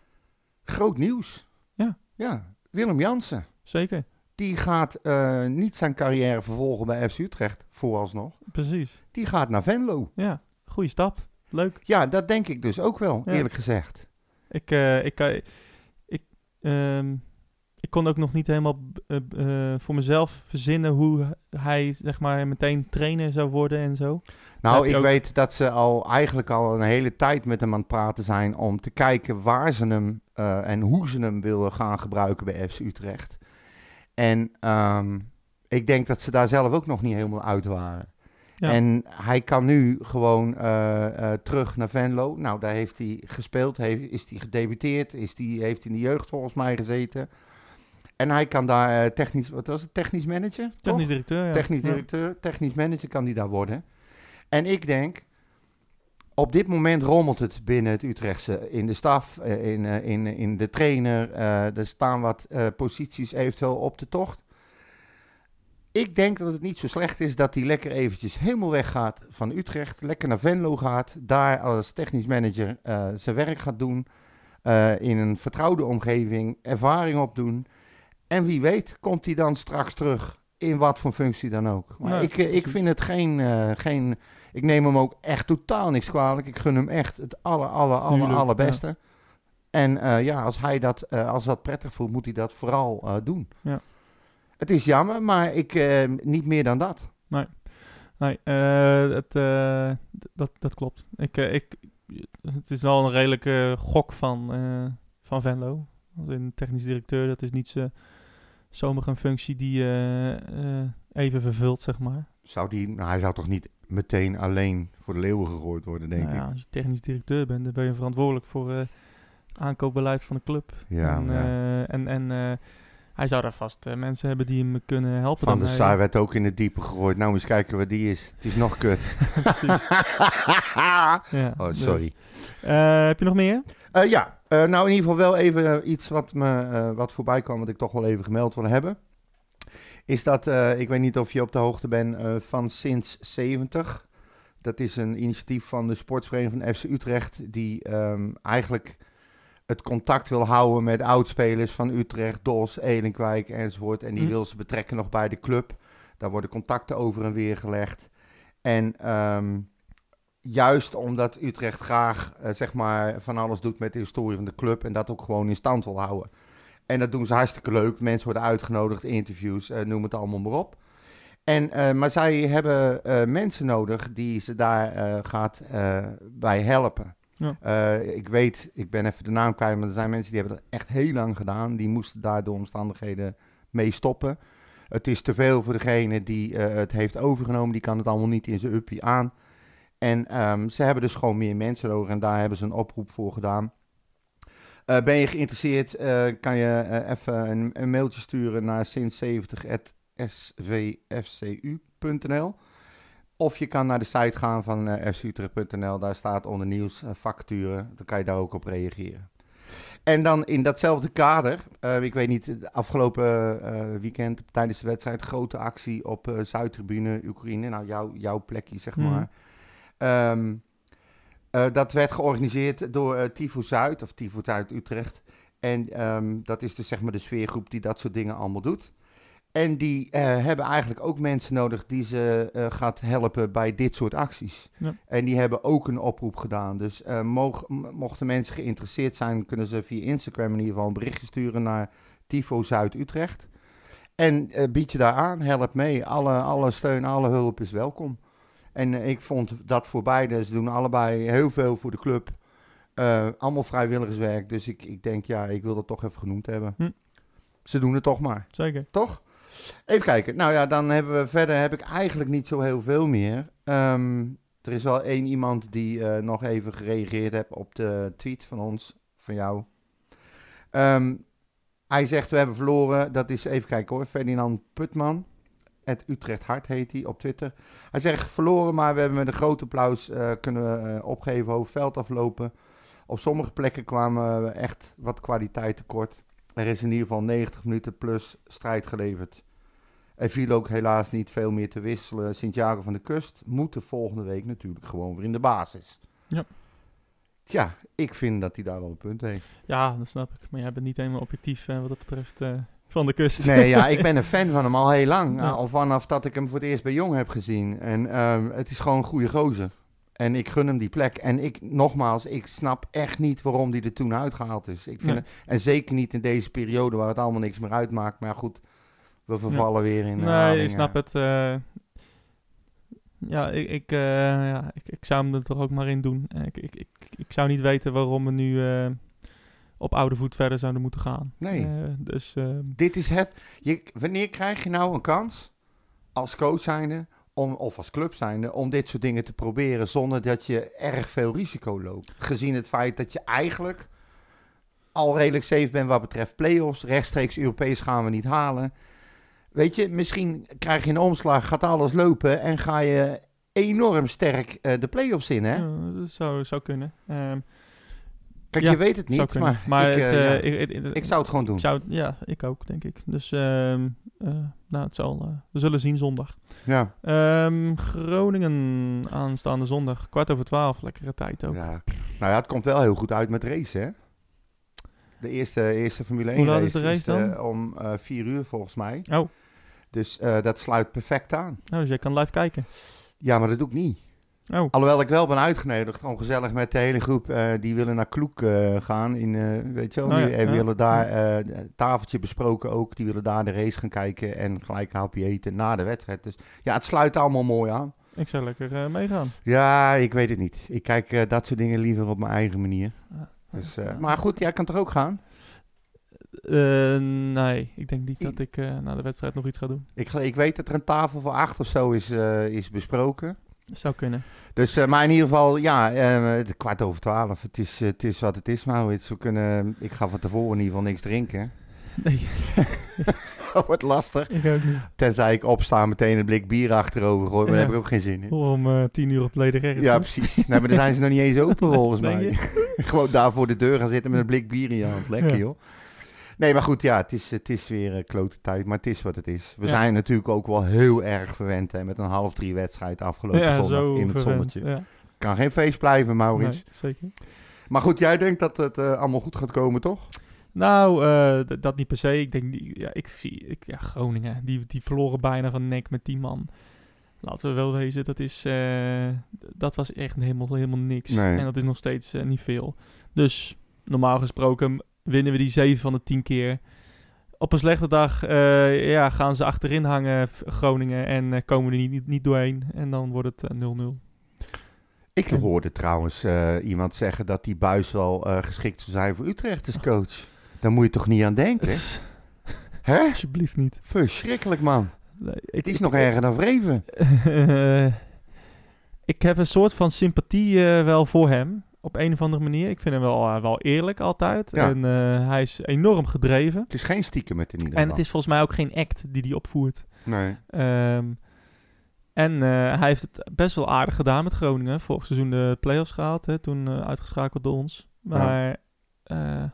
Groot nieuws. Ja. Ja, Willem Jansen. Zeker. Die gaat eh, niet zijn carrière vervolgen bij FC Utrecht, vooralsnog. Precies. Die gaat naar Venlo. Ja. Goeie stap. Leuk. Ja, dat denk ik dus ook wel, Ja. eerlijk gezegd. Ik, eh, ik, kan- ik, ehm, ik kon ook nog niet helemaal b- eh, b- eh, voor mezelf verzinnen hoe hij zeg maar, meteen trainer zou worden en zo. Heb Nou, je ik ook- weet dat ze al eigenlijk al een hele tijd met hem aan het praten zijn om te kijken waar ze hem eh, en hoe ze hem willen gaan gebruiken bij FC Utrecht. En ehm, ik denk dat ze daar zelf ook nog niet helemaal uit waren. Ja. En hij kan nu gewoon eh, eh, terug naar Venlo. Nou, daar heeft hij gespeeld, heeft, is hij gedebuteerd, is die, heeft in de jeugd volgens mij gezeten. En hij kan daar eh, technisch, wat was het, technisch manager? toch? Technisch directeur. Ja. Technisch Ja. directeur, technisch manager kan die daar worden. En ik denk, op dit moment rommelt het binnen het Utrechtse. In de staf, eh, in, eh, in, in de trainer. eh, er staan wat eh, posities eventueel op de tocht. Ik denk dat het niet zo slecht is dat hij lekker eventjes helemaal weggaat van Utrecht. Lekker naar Venlo gaat. Daar als technisch manager eh, zijn werk gaat doen. eh, in een vertrouwde omgeving ervaring opdoen. En wie weet komt hij dan straks terug in wat voor functie dan ook. Maar Nee, ik, eh, ik precies. vind het geen, eh, geen... Ik neem hem ook echt totaal niks kwalijk. Ik gun hem echt het aller, aller, aller, Tuurlijk, allerbeste. En eh, ja, als hij dat, eh, als dat prettig voelt, moet hij dat vooral eh, doen. Ja. Het is jammer, maar ik eh, niet meer dan dat. Nee, eh, het, eh, d- dat, dat klopt. Ik, eh, ik, het is wel een redelijke gok van, eh, van Venlo. Als in technisch directeur, dat is niet zo, zomaar een functie die eh, eh, even vervult, zeg maar. Zou die, nou, hij zou toch niet meteen alleen voor de leeuwen gegooid worden, denk Nou ja, ik. als je technisch directeur bent, dan ben je verantwoordelijk voor eh, aankoopbeleid van de club. Ja, en maar ja. eh, en, en eh, hij zou daar vast eh, mensen hebben die hem kunnen helpen. Van dan eh, der hij- Saar werd ook in het diepe gegooid. Nou, eens kijken wat die is. Het is nog kut. Precies. Ja, oh, dus. sorry. Eh, heb je nog meer? Eh, ja, Eh, nou in ieder geval wel even eh, iets wat, me, eh, wat voorbij kwam, wat ik toch wel even gemeld wil hebben. Is dat, eh, ik weet niet of je op de hoogte bent eh, van Sinds 70. Dat is een initiatief van de sportvereniging van FC Utrecht, die ehm, eigenlijk het contact wil houden met oudspelers van Utrecht, DOS, Elenkwijk enzovoort. En die Mm. wil ze betrekken nog bij de club. Daar worden contacten over en weer gelegd. En ehm, juist omdat Utrecht graag eh, zeg maar van alles doet met de historie van de club en dat ook gewoon in stand wil houden. En dat doen ze hartstikke leuk. Mensen worden uitgenodigd, interviews, eh, noem het allemaal maar op. En, eh, maar zij hebben eh, mensen nodig die ze daar eh, gaat eh, bij helpen. Ja. Eh, ik weet, ik ben even de naam kwijt, maar er zijn mensen die hebben dat echt heel lang gedaan. Die moesten daar door omstandigheden mee stoppen. Het is te veel voor degene die eh, het heeft overgenomen. Die kan het allemaal niet in zijn uppie aan. En ehm, ze hebben dus gewoon meer mensen nodig en daar hebben ze een oproep voor gedaan. Eh, ben je geïnteresseerd, eh, kan je eh, even een, een mailtje sturen naar sint70.svfcu.nl of je kan naar de site gaan van eh fcutrecht.nl, daar staat onder nieuws eh, facturen, dan kan je daar ook op reageren. En dan in datzelfde kader, eh, ik weet niet, het afgelopen eh, weekend tijdens de wedstrijd, grote actie op eh, Zuidtribune, Oekraïne, nou jouw, jouw plekje zeg Mhm. maar. Ehm, eh, dat werd georganiseerd door eh Tifo Zuid, of Tifo Zuid Utrecht. En ehm, dat is dus zeg maar de sfeergroep die dat soort dingen allemaal doet. En die eh, hebben eigenlijk ook mensen nodig die ze eh, gaat helpen bij dit soort acties. Ja. En die hebben ook een oproep gedaan. Dus eh, moog- m- mochten mensen geïnteresseerd zijn, kunnen ze via Instagram in ieder geval een berichtje sturen naar Tifo Zuid Utrecht. En eh, bied je daar aan, help mee. Alle, alle steun, alle hulp is welkom. En eh, ik vond dat voor beide, ze doen allebei heel veel voor de club. Eh, allemaal vrijwilligerswerk, dus ik, ik denk ja, ik wil dat toch even genoemd hebben. Hm. Ze doen het toch maar Zeker. toch? Even kijken. Nou ja, dan hebben we verder heb ik eigenlijk niet zo heel veel meer. Ehm, Er is wel één iemand die eh, nog even gereageerd heeft op de tweet van ons, van jou. Ehm, hij zegt, we hebben verloren. Dat is, even kijken hoor, Ferdinand Putman. Het Utrecht Hart heet hij op Twitter. Hij zegt, verloren, maar we hebben met een groot applaus eh, kunnen we eh, opgeven, hoog veld aflopen. Op sommige plekken kwamen we echt wat kwaliteit tekort. Er is in ieder geval 90 minuten plus strijd geleverd. Er viel ook helaas niet veel meer te wisselen. Sint-Jago van de Kust moet de volgende week natuurlijk gewoon weer in de basis. Ja. Tja, ik vind dat hij daar wel een punt heeft. Ja, dat snap ik. Maar jij bent niet helemaal objectief eh, wat dat betreft eh, van de kust. Nee, ja, ik ben een fan van hem al heel lang. Nou, Ja. Al vanaf dat ik hem voor het eerst bij Jong heb gezien. En ehm, het is gewoon een goede gozer. En ik gun hem die plek. En ik, nogmaals, ik snap echt niet waarom die er toen uitgehaald is. Ik vind Nee. het- en zeker niet in deze periode waar het allemaal niks meer uitmaakt. Maar goed, we vervallen weer in eh, Nee, herhalingen. ik snap het. eh. ja, ik, ik, eh, ja ik, ik zou hem er toch ook maar in doen. Eh, Ik, ik, ik, ik zou niet weten waarom we nu eh, op oude voet verder zouden moeten gaan. Nee. Eh, dus eh, Dit is het. Je, wanneer krijg je nou een kans als coach zijnde om, of als club zijnde om dit soort dingen te proberen zonder dat je erg veel risico loopt? Gezien het feit dat je eigenlijk al redelijk safe bent wat betreft play-offs. Rechtstreeks Europees gaan we niet halen. Weet je, misschien krijg je een omslag, gaat alles lopen en ga je enorm sterk eh, de play-offs in, hè? ja, dat zou, zou kunnen. Ehm, Kijk, Ja, je weet het zou niet, kunnen. maar, ik, het, eh, eh, ja, ik, het- het- ik zou het gewoon doen. ik zou het- ja, ik ook, denk ik. Dus ehm, eh, nou, het zal, eh, we zullen zien zondag. Ja. Ehm, Groningen aanstaande zondag, kwart over twaalf. Lekkere tijd ook. Ja. Nou ja, het komt wel heel goed uit met race, hè? De eerste, eerste Formule 1 Hoe laat race, is de race dan? eh, om eh vier uur volgens mij. Oh, Dus eh, dat sluit perfect aan. nou, dus jij kan live kijken. Ja, maar dat doe ik niet. Oh, Alhoewel ik wel ben uitgenodigd, gewoon gezellig met de hele groep eh, die willen naar Kloek eh, gaan. In, eh, weet je wel, Oh die ja, eh, ja. willen daar eh, een tafeltje besproken ook. Die willen daar de race gaan kijken en gelijk een hapje eten na de wedstrijd. Dus ja, het sluit allemaal mooi aan. ik zou lekker eh, meegaan. Ja, ik weet het niet. Ik kijk eh, dat soort dingen liever op mijn eigen manier. Ja. Dus, eh, Ja. Maar goed, jij kan toch ook gaan? Eh, nee, ik denk niet dat ik eh, na de wedstrijd nog iets ga doen. Ik, gel- ik weet dat er een tafel voor acht of zo is, eh, is besproken. Zou kunnen. Dus, eh, maar in ieder geval, ja, eh, het is kwart over twaalf. Het is, eh, het is wat het is, Maurits. We kunnen, ik ga van tevoren in ieder geval niks drinken. Nee, Dat wordt lastig. ik ook niet. Tenzij ik opsta meteen een blik bier achterover gooi. Maar daar Ja. heb ik ook geen zin in. Om eh, tien uur op leden ergens. Ja, precies. Nee, maar dan zijn ze nog niet eens open volgens Denk mij. Gewoon daar voor de deur gaan zitten met een blik bier in je hand. Lekker Ja. joh. Nee, maar goed, ja, het is, het is weer eh, klote tijd, maar het is wat het is. We Ja. zijn natuurlijk ook wel heel erg verwend hè, met een half drie wedstrijd afgelopen ja, zondag zo in het verwend. zonnetje. Ja, Kan geen feest blijven, Maurits. nee, zeker. Maar goed, jij denkt dat het eh, allemaal goed gaat komen, toch? Nou, eh, d- dat niet per se. Ik denk, die- ja, ik zie, ik, ja, Groningen, die, die verloren bijna van nek met die man. Laten we wel wezen, dat, is, eh, d- dat was echt helemaal, helemaal niks. Nee. En dat is nog steeds eh, niet veel. Dus normaal gesproken winnen we die 7 van de 10 keer. Op een slechte dag eh, ja, gaan ze achterin hangen, F- Groningen, en eh, komen we er niet, niet, niet doorheen. En dan wordt het eh, 0-0. Ik Ja. hoorde trouwens eh, iemand zeggen dat die buis wel eh, geschikt zou zijn voor Utrecht als coach. Daar moet je toch niet aan denken? Hè? Alsjeblieft niet. Verschrikkelijk, man. Nee, ik- Het is ik- nog erger dan Vreven. Eh, ik heb een soort van sympathie eh, wel voor hem. Op een of andere manier. Ik vind hem wel, eh, wel eerlijk altijd. Ja. En eh, hij is enorm gedreven. Het is geen stiekem met in ieder En het is volgens mij ook geen act die hij opvoert. Nee. Ehm, en eh, hij heeft het best wel aardig gedaan met Groningen. Vorig seizoen de play-offs gehaald. Hè, toen eh, uitgeschakeld door ons. Maar eh,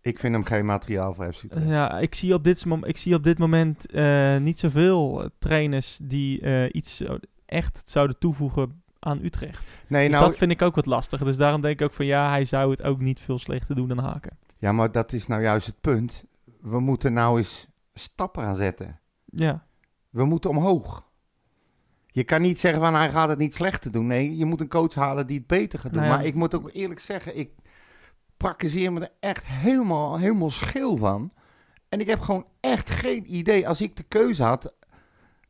Ik vind hem geen materiaal voor FC Utrecht. Ja, ik zie op dit, mom- ik zie op dit moment eh, niet zoveel eh, trainers die eh, iets zo- echt zouden toevoegen aan Utrecht. Nee, Dus nou, dat vind ik ook wat lastig. Dus daarom denk ik ook van ja, hij zou het ook niet veel slechter doen dan Haken. ja, maar dat is nou juist het punt. We moeten nou eens stappen aan zetten. Ja, We moeten omhoog. Je kan niet zeggen van hij gaat het niet slechter doen. Nee, je moet een coach halen die het beter gaat doen. Nou ja. Maar ik moet ook eerlijk zeggen, ik praktiseer me er echt helemaal, helemaal schil van. En ik heb gewoon echt geen idee, als ik de keuze had,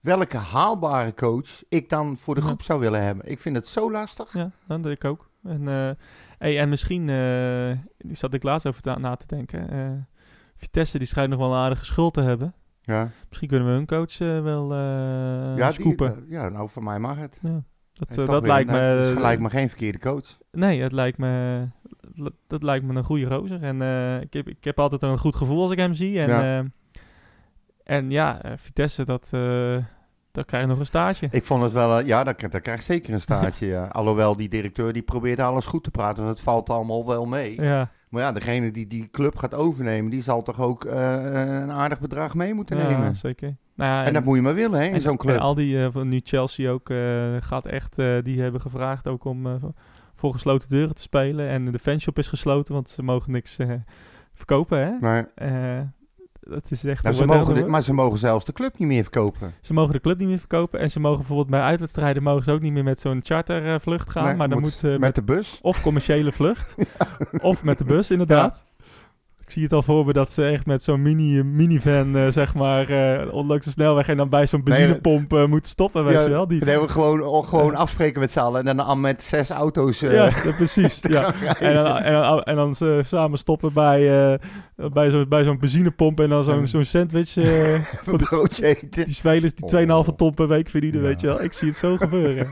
welke haalbare coach ik dan voor de Ja. groep zou willen hebben. Ik vind het zo lastig. ja dat denk ik ook. En, eh, hey, en misschien, eh, die zat ik laatst over ta- na te denken. eh, Vitesse die schijnt nog wel een aardige schuld te hebben. Ja, Misschien kunnen we hun coach eh, wel eh ja, die- scoepen. ja, nou voor mij mag het. Ja. Dat, En eh, toch dat weer, lijkt nou, me... eh, het is gelijk maar geen verkeerde coach. Nee, het lijkt me, dat- dat lijkt me een goede rozer. En eh, ik, heb, ik heb altijd een goed gevoel als ik hem zie. En Ja. ja, en ja eh, Vitesse, dat, eh dat krijg je nog een stage. Ik vond het wel, eh, ja, dat, dat krijgt zeker een staartje. ja. Alhoewel die directeur die probeerde alles goed te praten, want het valt allemaal wel mee. Ja, Maar ja, degene die die club gaat overnemen, die zal toch ook eh, een aardig bedrag mee moeten ja, nemen. zeker. Nou, ja, En dat moet je maar willen, hè, in en- zo'n en club. al die, eh, van nu Chelsea ook, eh, gaat echt, eh, die hebben gevraagd ook om eh, voor gesloten deuren te spelen. En de fanshop is gesloten, want ze mogen niks eh, verkopen, hè. Maar, Eh, dat is echt... nou, ze een- mogen de- maar ze mogen zelfs de club niet meer verkopen. Ze mogen de club niet meer verkopen. En ze mogen bijvoorbeeld bij uitwedstrijden mogen ze ook niet meer met zo'n chartervlucht gaan. Nee, maar dan moet- moet ze met, Met de bus. of commerciële vlucht. Of met de bus, inderdaad. Ik zie het al voor me dat ze echt met zo'n mini, minivan, eh, zeg maar, eh onlangs de snelweg en dan bij zo'n Nee, benzinepomp eh, moet stoppen, weet Ja, je wel. Die, Dan hebben we gewoon, oh, gewoon afspreken met z'n allen en dan met zes auto's. eh, ja, ja, precies. ja. gaan rijden. En dan, en dan, en dan ze samen stoppen bij, eh bij zo'n bij zo'n benzinepomp en dan zo'n zo'n sandwich. eh, Een broodje eten. die spelers Oh. die 2,5 ton per week verdienen, Ja. weet je wel. Ik zie het zo gebeuren.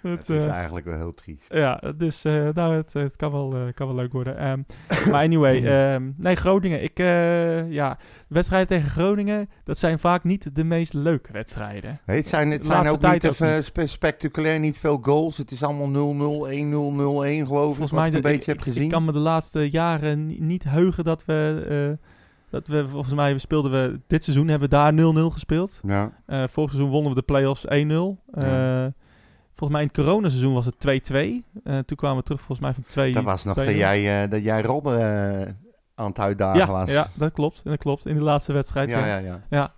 Het is eh, eigenlijk wel heel triest. Ja, dus eh, nou, het, het kan, wel, eh, kan wel leuk worden. Ehm, maar anyway, ehm, nee, Groningen. Ik, eh, ja, wedstrijden tegen Groningen, dat zijn vaak niet de meest leuke wedstrijden. Nee, het zijn, het de zijn laatste ook niet, tijd ook even niet. spe- spectaculair, niet veel goals. Het is allemaal 0-0, 1-0, 0-1 geloof ik, Volgens wat mij ik een dat- beetje heb gezien. Ik kan me de laatste jaren ni- niet heugen dat we, eh, dat we, volgens mij speelden we, dit seizoen hebben we daar 0-0 gespeeld. Ja, Eh, vorig seizoen wonnen we de play-offs 1-0. Eh, Ja. Volgens mij in het coronaseizoen was het 2-2. Eh, toen kwamen we terug volgens mij van 2 dat was nog dat 2-0. jij, eh, dat jij Robben eh, aan het uitdagen ja, was. ja, dat klopt. Dat klopt. In de laatste wedstrijd. ja, ja. ja, ja.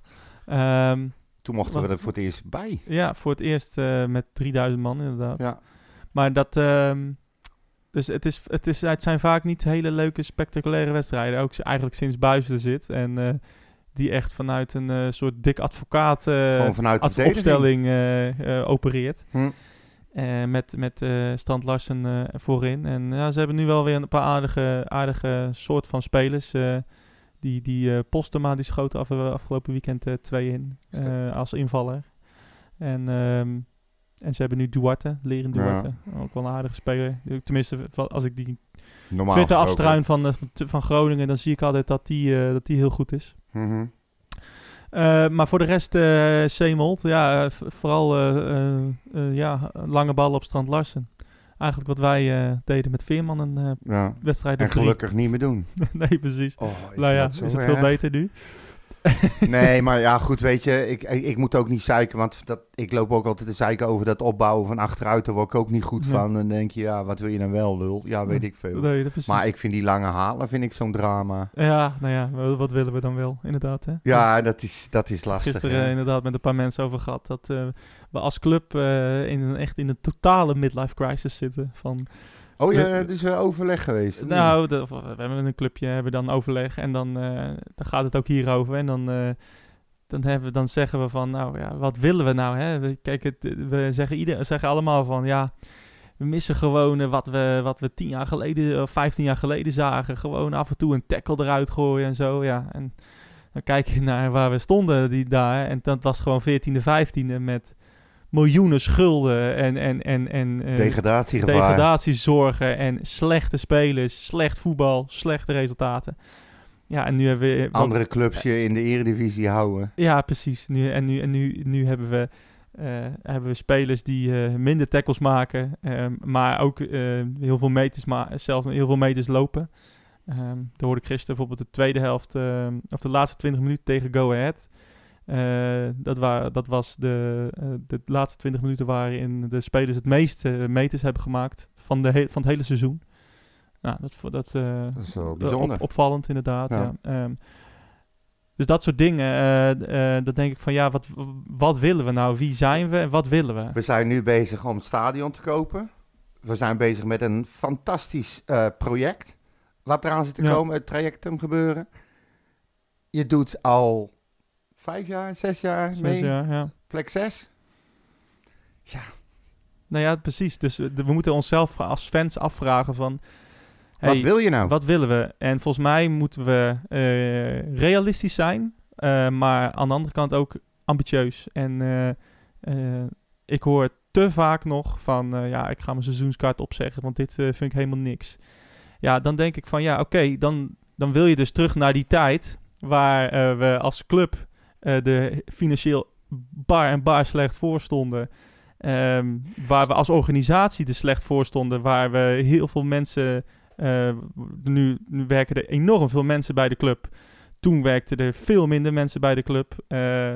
Ehm, Toen mochten we er voor het eerst bij. Ja, voor het eerst eh, met 3000 man inderdaad. Ja. Maar dat... ehm, dus het, is, het, is, het zijn vaak niet hele leuke, spectaculaire wedstrijden. Ook s- eigenlijk sinds Buis er zit. En eh, die echt vanuit een eh, soort dik advocaat eh, Gewoon vanuit de ad- verdediging. opstelling eh, eh, opereert. Hm. Eh, met met eh Strand Larsen eh, voorin. En ja, ze hebben nu wel weer een paar aardige, aardige soort van spelers. eh, die die eh, Postema die schoot af, afgelopen weekend eh, twee in Sterk. eh, als invaller. En, ehm, en ze hebben nu Duarte, Leren Ja. Duarte. Ook wel een aardige speler. Tenminste, va- als ik die Normaal Twitter gesproken. afstruin van, eh, van, van Groningen, dan zie ik altijd dat die, eh, dat die heel goed is. Mhm. Eh, maar voor de rest, eh Seemold, ja, eh, v- vooral eh, eh, eh, ja, lange ballen op Strand Larsen. Eigenlijk wat wij eh, deden met Veerman een eh, ja. wedstrijd op En drie. gelukkig niet meer doen. nee, precies. Oh, ik nou vind ja, dat is zo het veel erg. beter nu? Nee, maar ja, goed, weet je, ik, ik, ik moet ook niet zeiken, want dat, ik loop ook altijd te zeiken over dat opbouwen van achteruit, daar word ik ook niet goed Ja. van. Dan denk je, ja, wat wil je dan wel, lul? Ja, weet Ja. ik veel. Nee, dat precies. Maar ik vind die lange halen, vind ik zo'n drama. Ja, nou ja, wa- wat willen we dan wel, inderdaad. Hè? Ja, dat is, dat is Ik heb het lastig. Gisteren eh, hè. inderdaad met een paar mensen over gehad dat eh, we als club eh, in een, echt in een totale midlife crisis zitten. Van, Oh ja, het is wel overleg geweest. of niet? nou, de- we hebben een clubje, hebben dan overleg en dan, eh, dan gaat het ook hierover. En dan, eh, dan, hebben, we- dan zeggen we van, nou ja, wat willen we nou? Hè? We, kijk, het, we zeggen, ieder, zeggen allemaal van, ja, we missen gewoon eh, wat we, wat we tien jaar geleden of vijftien jaar geleden zagen. Gewoon af en toe een tackle eruit gooien en zo, ja. En dan kijk je naar waar we stonden die, daar en dat was gewoon veertiende, vijftiende met miljoenen schulden en... en, en, en eh, Degradatiegevaar. degradatiezorgen en slechte spelers, slecht voetbal, slechte resultaten. Ja, en nu hebben we... wat- Andere clubs je in de eredivisie houden. ja, precies. Nu, en nu, en nu, nu hebben, we, eh, hebben we spelers die eh, minder tackles maken, eh, maar ook eh, heel, veel meters ma zelf heel veel meters lopen. Ehm daar hoorde ik gisteren bijvoorbeeld de tweede helft, ehm, of de laatste 20 minuten tegen Go Ahead. Eh, dat, wa dat was de, eh, de laatste 20 minuten waarin de spelers het meeste eh, meters hebben gemaakt van, de he- van het hele seizoen. Nou, dat, vo- dat, eh, Dat is wel eh, op- bijzonder. opvallend inderdaad, ja. Ja. Ehm, dus dat soort dingen, eh eh, dat denk ik van ja, wat, wat willen we nou? Wie zijn we en wat willen we? We zijn nu bezig om het stadion te kopen. We zijn bezig met een fantastisch eh, project. Wat eraan zit te Ja. komen, het traject om gebeuren. Je doet al vijf jaar, zes jaar mee. Dus, ja, ja. Plek zes. Nou ja, precies. Dus we, we moeten onszelf als fans afvragen van... hey, Wat wil je nou? Wat willen we? En volgens mij moeten we eh, realistisch zijn, eh, maar aan de andere kant ook ambitieus. En eh, eh, Ik hoor te vaak nog van, eh, ja, ik ga mijn seizoenskaart opzeggen, want dit eh, vind ik helemaal niks. Ja, dan denk ik van, ja, oké, dan, dan wil je dus terug naar die tijd waar eh, we als club eh, de financieel bar en bar slecht voor stonden. Ehm, waar we als organisatie er slecht voor stonden, waar we heel veel mensen, eh, nu, nu werken er enorm veel mensen bij de club. Toen werkten er veel minder mensen bij de club. Eh,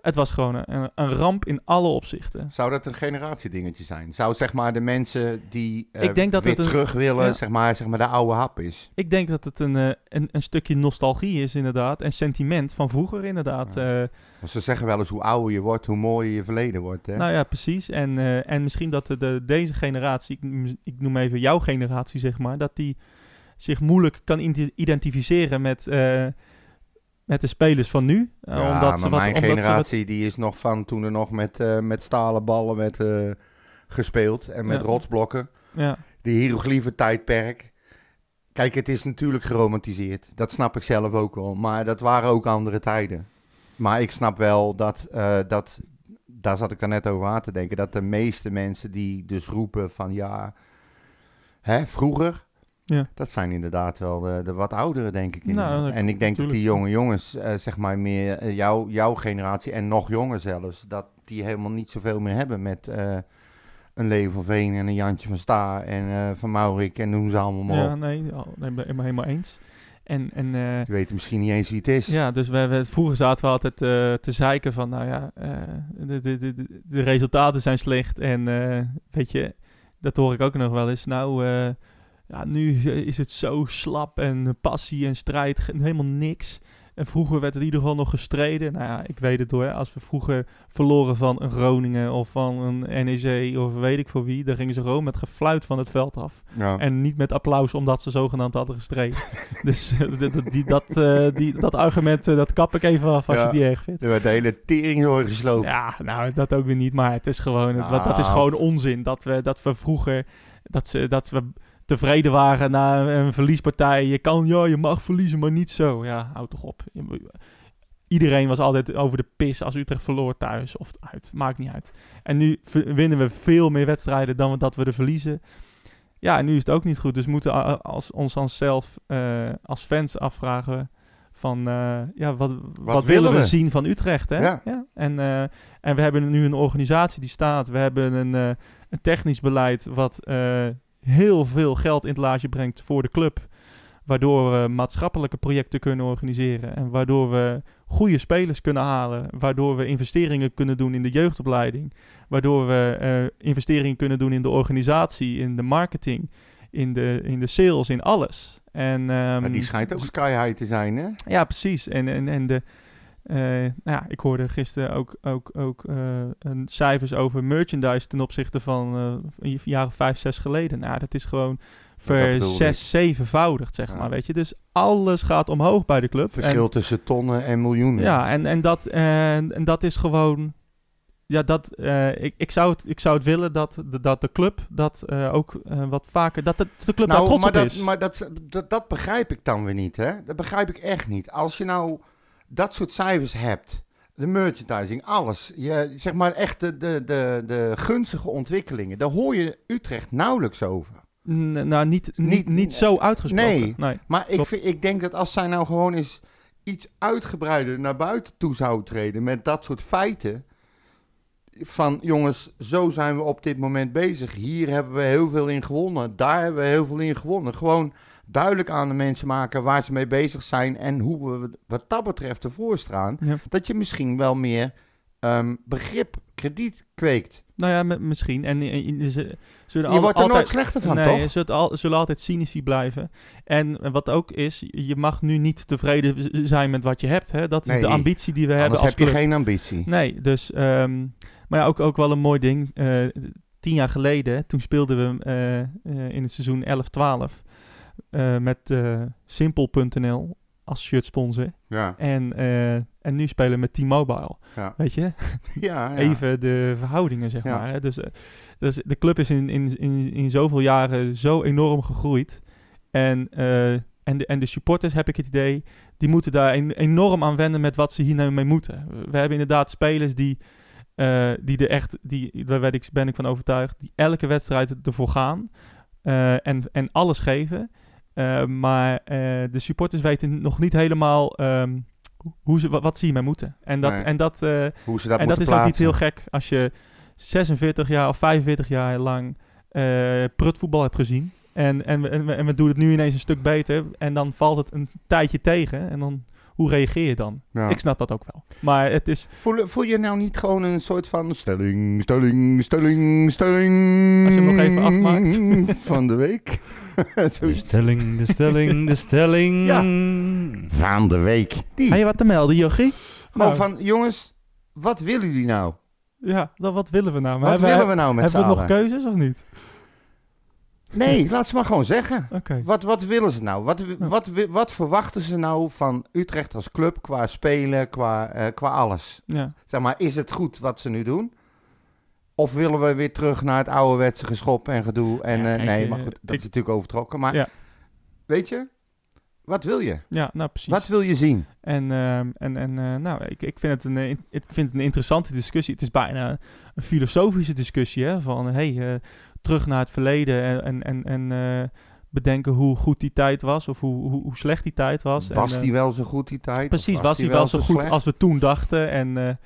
het was gewoon een, een ramp in alle opzichten. Zou dat een generatiedingetje zijn? Zou zeg maar de mensen die eh, Ik denk dat weer het een- terug willen, ja. zeg, maar, zeg maar de oude hap is? Ik denk dat het een, eh, een, een stukje nostalgie is, inderdaad. En sentiment van vroeger, inderdaad. Eh, Want ze zeggen wel eens hoe ouder je wordt, hoe mooier je verleden wordt. Hè? Nou ja, precies. En, eh, en misschien dat de, de- deze generatie, ik, noem- ik noem even jouw generatie, zeg maar, dat die zich moeilijk kan ide- identificeren met, eh, met de spelers van nu. Eh, ja, omdat ze maar wat, mijn omdat Ze generatie die is nog van toen er nog met, eh, met stalen ballen werd eh, gespeeld en met Ja. rotsblokken. wat, ja, Die hieroglyphen tijdperk. Kijk, het is natuurlijk geromantiseerd. Dat snap ik zelf ook wel. Maar dat waren ook andere tijden. Maar ik snap wel dat, eh, dat daar zat ik daar net over aan te denken, dat de meeste mensen die dus roepen van ja, hè, vroeger, Ja. dat zijn inderdaad wel de, de wat ouderen, denk ik. Nou, inderdaad. dat- en ik denk dat die tuurlijk. jonge jongens, eh, zeg maar meer eh, jouw- jouw generatie en nog jonger zelfs, dat die helemaal niet zoveel meer hebben met... eh, een Leo van Veen en een Jantje van Staar en eh, Van Maurik en noem ze allemaal maar ja, op. nee, oh, nee, ik ben het helemaal eens. En, en eh, Je weet misschien niet eens wie het is. Ja, dus we, we, vroeger zaten we altijd eh, te zeiken van, nou ja, eh, de, de, de, de- de resultaten zijn slecht. En eh, weet je, dat hoor ik ook nog wel eens. Nou, eh, ja, nu is het zo slap en passie en strijd, ge- helemaal niks. En vroeger werd het in ieder geval nog gestreden. Nou ja, ik weet het hoor. Als we vroeger verloren van een Groningen of van een NEC of weet ik voor wie, dan gingen ze gewoon met gefluit van het veld af. Ja. En niet met applaus omdat ze zogenaamd hadden gestreden. dus eh, dat- dat- die, dat, eh, die, dat argument, eh, dat kap ik even af als Ja. je die erg vindt. Er werd de hele tering door gesloopt. Ja, nou, dat ook weer niet. Maar het is gewoon, het- wat- dat is Nou. gewoon onzin. Dat we, dat we vroeger, dat, ze, dat we tevreden waren na een, een verliespartij. Je kan, ja, je mag verliezen, maar niet zo. Ja, hou toch op. Je moet- Iedereen was altijd over de pis als Utrecht verloor thuis of uit. Maakt niet uit. En nu ver- winnen we veel meer wedstrijden dan we- dat we er verliezen. Ja, en nu is het ook niet goed. Dus moeten we als, ons onszelf eh, als fans afvragen van... eh, ja, wat, wat, willen we, zien van Utrecht, hè? Ja. En, eh, en we hebben nu een organisatie die staat. We hebben een, eh, een technisch beleid wat eh, heel veel geld in het laadje brengt voor de club. Waardoor we maatschappelijke projecten kunnen organiseren. En waardoor we goede spelers kunnen halen. Waardoor we investeringen kunnen doen in de jeugdopleiding. Waardoor we eh, investeringen kunnen doen in de organisatie, in de marketing, in de, in de sales, in alles. En, ehm, Maar die schijnt ook sky high te zijn, hè? ja, precies. En, en, en de, eh, nou ja, ik hoorde gisteren ook, ook, ook eh, een cijfers over merchandise ten opzichte van eh, een jaar of vijf, zes geleden. Nou, dat is gewoon ver bedoelde zes, zevenvoudigd, zeg Ja. maar, weet je. Dus alles gaat omhoog bij de club. En- Verschil tussen tonnen en miljoenen. ja, en, en, dat, en, en dat is gewoon. Ja, dat, eh, ik, ik, zou het, ik zou het willen dat de, dat de club dat eh, ook eh, wat vaker. Dat de, de club daar trots Nou, maar op dat, is. Maar dat, dat, dat begrijp ik dan weer niet, hè? Dat begrijp ik echt niet. Als je nou dat soort cijfers hebt, de merchandising, alles. Je, zeg maar echt de, de, de, de gunstige ontwikkelingen. Daar hoor je Utrecht nauwelijks over. N- nou, niet, niet, Niet- niet, zo uitgesproken. Nee. nee. Maar ik, Klopt. vind, ik denk dat als zij nou gewoon eens iets uitgebreider naar buiten toe zou treden met dat soort feiten. Van jongens, zo zijn we op dit moment bezig. Hier hebben we heel veel in gewonnen. Daar hebben we heel veel in gewonnen. Gewoon duidelijk aan de mensen maken waar ze mee bezig zijn en hoe we wat dat betreft ervoor staan. Ja. Dat je misschien wel meer ehm, begrip, krediet kweekt. Nou ja, mi- misschien. En, en- en ze zullen je al- wordt er altijd, nooit slechter van, nee, toch? Ze zullen, al- zullen altijd cynici blijven. En eh, wat ook is, je mag nu niet tevreden z- zijn met wat je hebt. Hè? Dat is Nee. de ambitie die we hebben Anders als heb je club. geen ambitie. Nee, dus... ehm, maar ja, ook, ook wel een mooi ding. Eh, tien jaar geleden, toen speelden we eh, eh, in het seizoen 11-12 eh, met eh, Simpel.nl als shirtsponsor. Ja, En, eh, en nu spelen we met T-Mobile. Ja. Weet je? ja, ja. even de verhoudingen, zeg Ja. maar. Hè? Dus, eh, dus de club is in, in, in, in zoveel jaren zo enorm gegroeid. En, eh, en, de, en de supporters, heb ik het idee, die moeten daar en- enorm aan wennen met wat ze hier nou mee moeten. We hebben inderdaad spelers die eh, die er echt, die, daar weet ik, ben ik van overtuigd, die elke wedstrijd ervoor gaan eh, en, en alles geven. Eh, maar eh, de supporters weten nog niet helemaal ehm, hoe ze, wat, wat ze hiermee moeten. En dat, Nee. en dat, eh, Hoe ze dat en dat moeten is ook niet heel plaatsen. gek als je 46 jaar of 45 jaar lang eh, prutvoetbal hebt gezien. En, en, we- en, we- en we doen het nu ineens een stuk beter. En dan valt het een tijdje tegen. En dan, hoe reageer je dan? Ja. Ik snap dat ook wel. Maar het is, Voel, voel je nou niet gewoon een soort van stelling, stelling, stelling, stelling... Als je hem nog even afmaakt. Van de week. De Zoiets. stelling, de stelling, de stelling. Ja. Van de week. Die. heb je wat te melden, Jochie? Gewoon Nou. van, jongens, wat willen jullie nou? Ja, dan wat willen we nou? wat willen we nou met z'n Hebben we nog allen? keuzes of niet? Nee, laat ze maar gewoon zeggen. Oké. Wat, wat willen ze nou? Wat, wat, wi- wat verwachten ze nou van Utrecht als club qua spelen, qua, eh, qua alles? Ja. Zeg maar, is het goed wat ze nu doen? Of willen we weer terug naar het ouderwetse geschop en gedoe? En, Ja, eh, kijk, nee, eh, maar goed, dat ik- is natuurlijk overtrokken. Maar Ja. weet je, wat wil je? ja, nou precies. Wat wil je zien? En, ehm, en, en eh, nou, ik, ik, vind het een, eh, in- ik vind het een interessante discussie. Het is bijna een filosofische discussie. Hè? Van hey, eh, terug naar het verleden en, en, en, en eh, bedenken hoe goed die tijd was of hoe, hoe, hoe slecht die tijd was. Was, en, eh, die wel zo goed die tijd? precies, Of was die wel zo goed slecht? als we toen dachten? En, eh, en-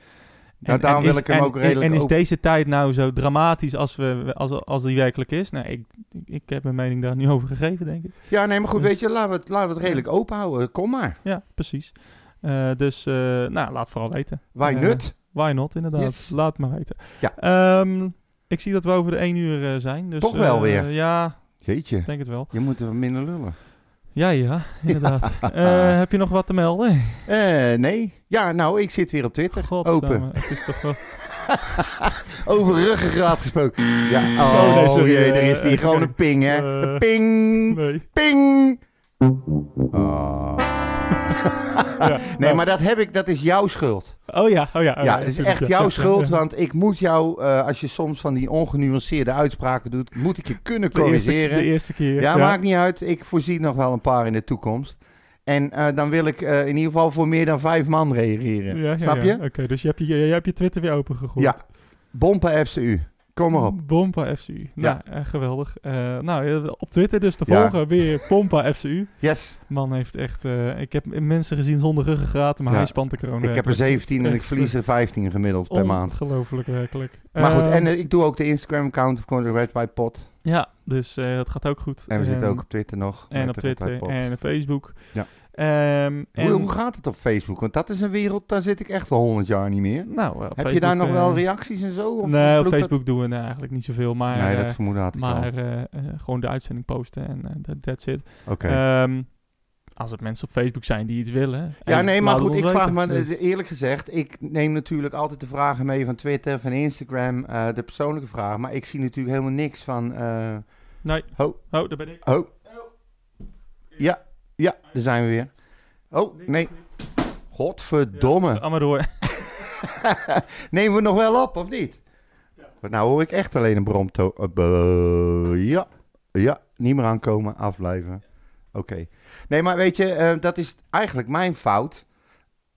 Nou, daarom wil is- ik hem en- ook en- redelijk En is ook- deze tijd nou zo dramatisch als, we, als, als die werkelijk is? Nou, ik, ik, ik heb mijn mening daar nu over gegeven, denk ik. Ja, nee, maar goed, Dus- weet je, laten we het, laten we het redelijk open houden. Kom maar. Ja, precies. Eh, dus, eh, nou, laat vooral weten. Wij Eh, nut. Why not, inderdaad. Yes. Laat maar weten. Ja. Ehm, ik zie dat we over de 1 uur eh, zijn. Dus, Toch wel eh, weer. Ja, Jeetje, ik denk het wel. je moet er minder lullen. Ja, ja, inderdaad. Eh, heb je nog wat te melden? Eh, nee. Ja, nou, ik zit weer op Twitter. Godsamme, Open. Het is toch wel... Over ruggengraat gesproken. Ja, Oh, oh, nee, sorry, jee, er eh, is die. even Gewoon een ping, hè. Eh, Een ping, Nee. ping. Oh. nee, nou. maar dat heb ik, dat is jouw schuld. Oh ja, oh ja. oh ja, het is natuurlijk, echt ja, jouw ja, schuld, ja. want ik moet jou, eh, als je soms van die ongenuanceerde uitspraken doet, moet ik je kunnen De eerste, de corrigeren. eerste keer. Ja, maakt niet uit. Ik voorzie nog wel een paar in de toekomst. En eh, dan wil ik eh, in ieder geval voor meer dan vijf man reageren. Ja, ja, Snap ja. je? Oké, dus je hebt je, je, hebt je Twitter weer opengegooid. Ja. Bompa FCU. Kom maar op. Mm. Bompa FCU. Nou, Ja. eh, geweldig. Eh, nou, eh, op Twitter dus te Ja. volgen. Weer Pompa FCU. Yes. Man heeft echt... eh, ik heb mensen gezien zonder ruggengraat, maar Ja. hij spant de kroon. Ik heb er werkelijk. 17 en ik Echt, verlies er 15 gemiddeld per maand. Ongelooflijk werkelijk. Maar goed, Ehm, en eh, ik doe ook de Instagram-account van de Red White Pot. ja, dus eh, dat gaat ook goed. En we zitten Ehm, ook op Twitter nog. en met op de Red White Twitter Pot. en op Facebook. Ja. Ehm, en, Hoe, hoe gaat het op Facebook? Want dat is een wereld, daar zit ik echt al 100 jaar niet meer. nou, eh, op Heb je daar Facebook, nog wel eh, reacties en zo? Of Nee, op bloedt Facebook doen we nou eigenlijk niet zoveel. Dat? Maar, Nee, eh, dat vermoeden had ik al. maar eh, eh, gewoon de uitzending posten en eh, that- that's it. Oké. Ehm, als het mensen op Facebook zijn die iets willen. Ja, en nee, maar laat het goed, ons ik vraag weten. me Dus- eh, eerlijk gezegd, ik neem natuurlijk altijd de vragen mee van Twitter, van Instagram, eh, de persoonlijke vragen, maar ik zie natuurlijk helemaal niks van. eh, Nee. Ho. Oh, daar ben ik. oh. Ja, ja, daar zijn we weer. Oh, nee. Godverdomme. Allemaal door. Nemen we nog wel op, of niet? Want nou hoor ik echt alleen een bromto. eh, bo- ja, ja, niet meer aankomen, afblijven. Oké. Nee, maar weet je, eh, dat is eigenlijk mijn fout.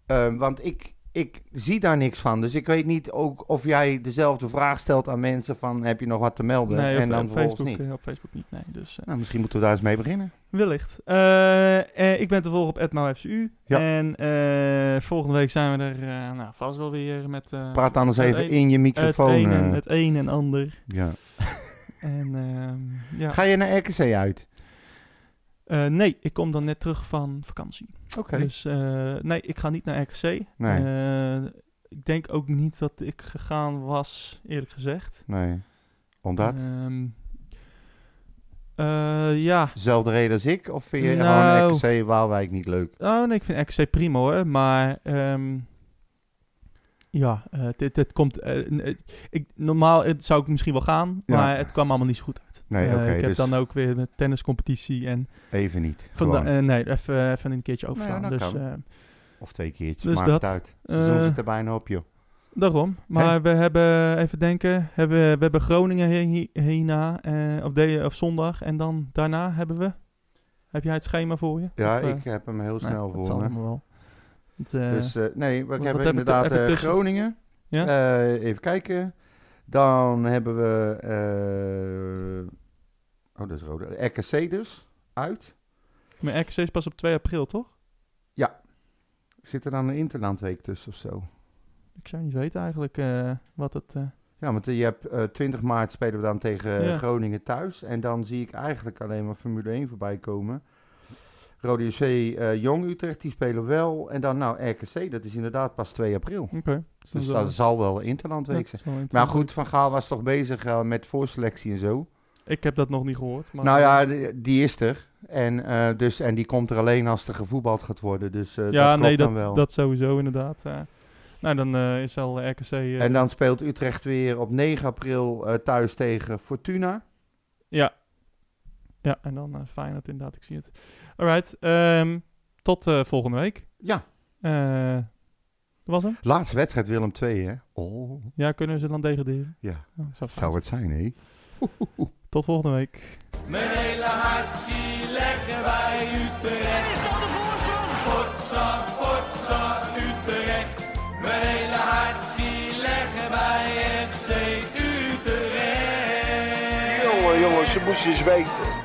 Eh, want ik, ik zie daar niks van. Dus ik weet niet ook of jij dezelfde vraag stelt aan mensen van... heb je nog wat te melden? Nee, op, en dan op vervolgens Facebook, niet. eh, op Facebook niet. Nee, dus, eh, Nou, misschien moeten we daar eens mee beginnen. Wellicht. Eh, eh, ik ben te volgen op @mauFCU Ja. En eh, volgende week zijn we er eh, nou, vast wel weer met eh, Praat anders het even een- in je het, microfoon. een en, eh. het een en ander. ja. En, ehm, ja. Ga je naar RKC uit? Eh, nee, ik kom dan net terug van vakantie. Oké. Dus eh, nee, ik ga niet naar RKC. Nee. Eh, ik denk ook niet dat ik gegaan was, eerlijk gezegd. Nee. Omdat? Ehm, eh, ja, Zelfde reden als ik? Of vind je Nou. gewoon RKC Waalwijk niet leuk? Oh nee, ik vind RKC prima hoor, maar ehm, ja, eh, dit, dit komt, eh, n- eh, ik, normaal eh, zou ik misschien wel gaan, Ja. maar het kwam allemaal niet zo goed uit. Nee, Eh, oké. ik heb dus dan ook weer met tenniscompetitie en even niet. vanda- Gewoon. eh, nee, even, even een keertje overslaan. dat dus kan. eh, of twee keertjes. dus maakt dat, het uit. Het seizoen eh, zit er bijna op, joh. daarom. Maar we hebben, even denken, hebben, we hebben Groningen hier- hierna, eh, of, de, of zondag, en dan daarna hebben we, heb jij het schema voor je? Ja, Of, eh, ik heb hem heel nou, snel dat zal voor me. allemaal wel. Het, eh, Dus eh, nee, we wat hebben heb ik er- inderdaad heb ik eh, tussen? Groningen. Ja. Eh, even kijken. Dan hebben we... eh, oh, dat is rode. RKC dus, uit. Maar RKC is pas op 2 april, toch? Zit er dan een interlandweek tussen of zo? Ik zou niet weten eigenlijk eh, wat het... eh, Ja, want eh, je hebt eh, 20 maart spelen we dan tegen eh, Ja. Groningen thuis. En dan zie ik eigenlijk alleen maar Formule 1 voorbij komen. Rode JC, eh, Jong Utrecht, die spelen wel. En dan nou RKC, dat is inderdaad pas 2 april. Oké. Dus dan- dat zal wel een interlandweek Ja, zal zijn. wel Maar interessant goed, Van Gaal was toch bezig eh, met voorselectie en zo. zijn. Ik heb dat nog niet gehoord. Maar nou ja, die- die is er. En, eh, dus, en die komt er alleen als er gevoetbald gaat worden. Dus ja, eh, dat klopt nee, dat, dan wel. dat sowieso inderdaad. eh. nou, dan eh, is al RKC... eh, En dan speelt Utrecht weer op 9 april eh, thuis tegen Fortuna. Ja, en dan eh Feyenoord inderdaad, ik zie het. Alright, ehm, tot eh, volgende week. Ja. Eh, dat was hem. Laatste wedstrijd Willem 2, hè? Oh, Ja, kunnen ze dan degraderen? Ja. Oh, zou fijn zou het zijn, hè? zijn. Tot volgende week. Mijn hele hart zie leggen wij Utrecht. Is dat de voorsprong? Potsa, potsa, Utrecht. Mijn hele hart zie leggen wij FC Utrecht. Jongen, jongens, ze moest je eens weten.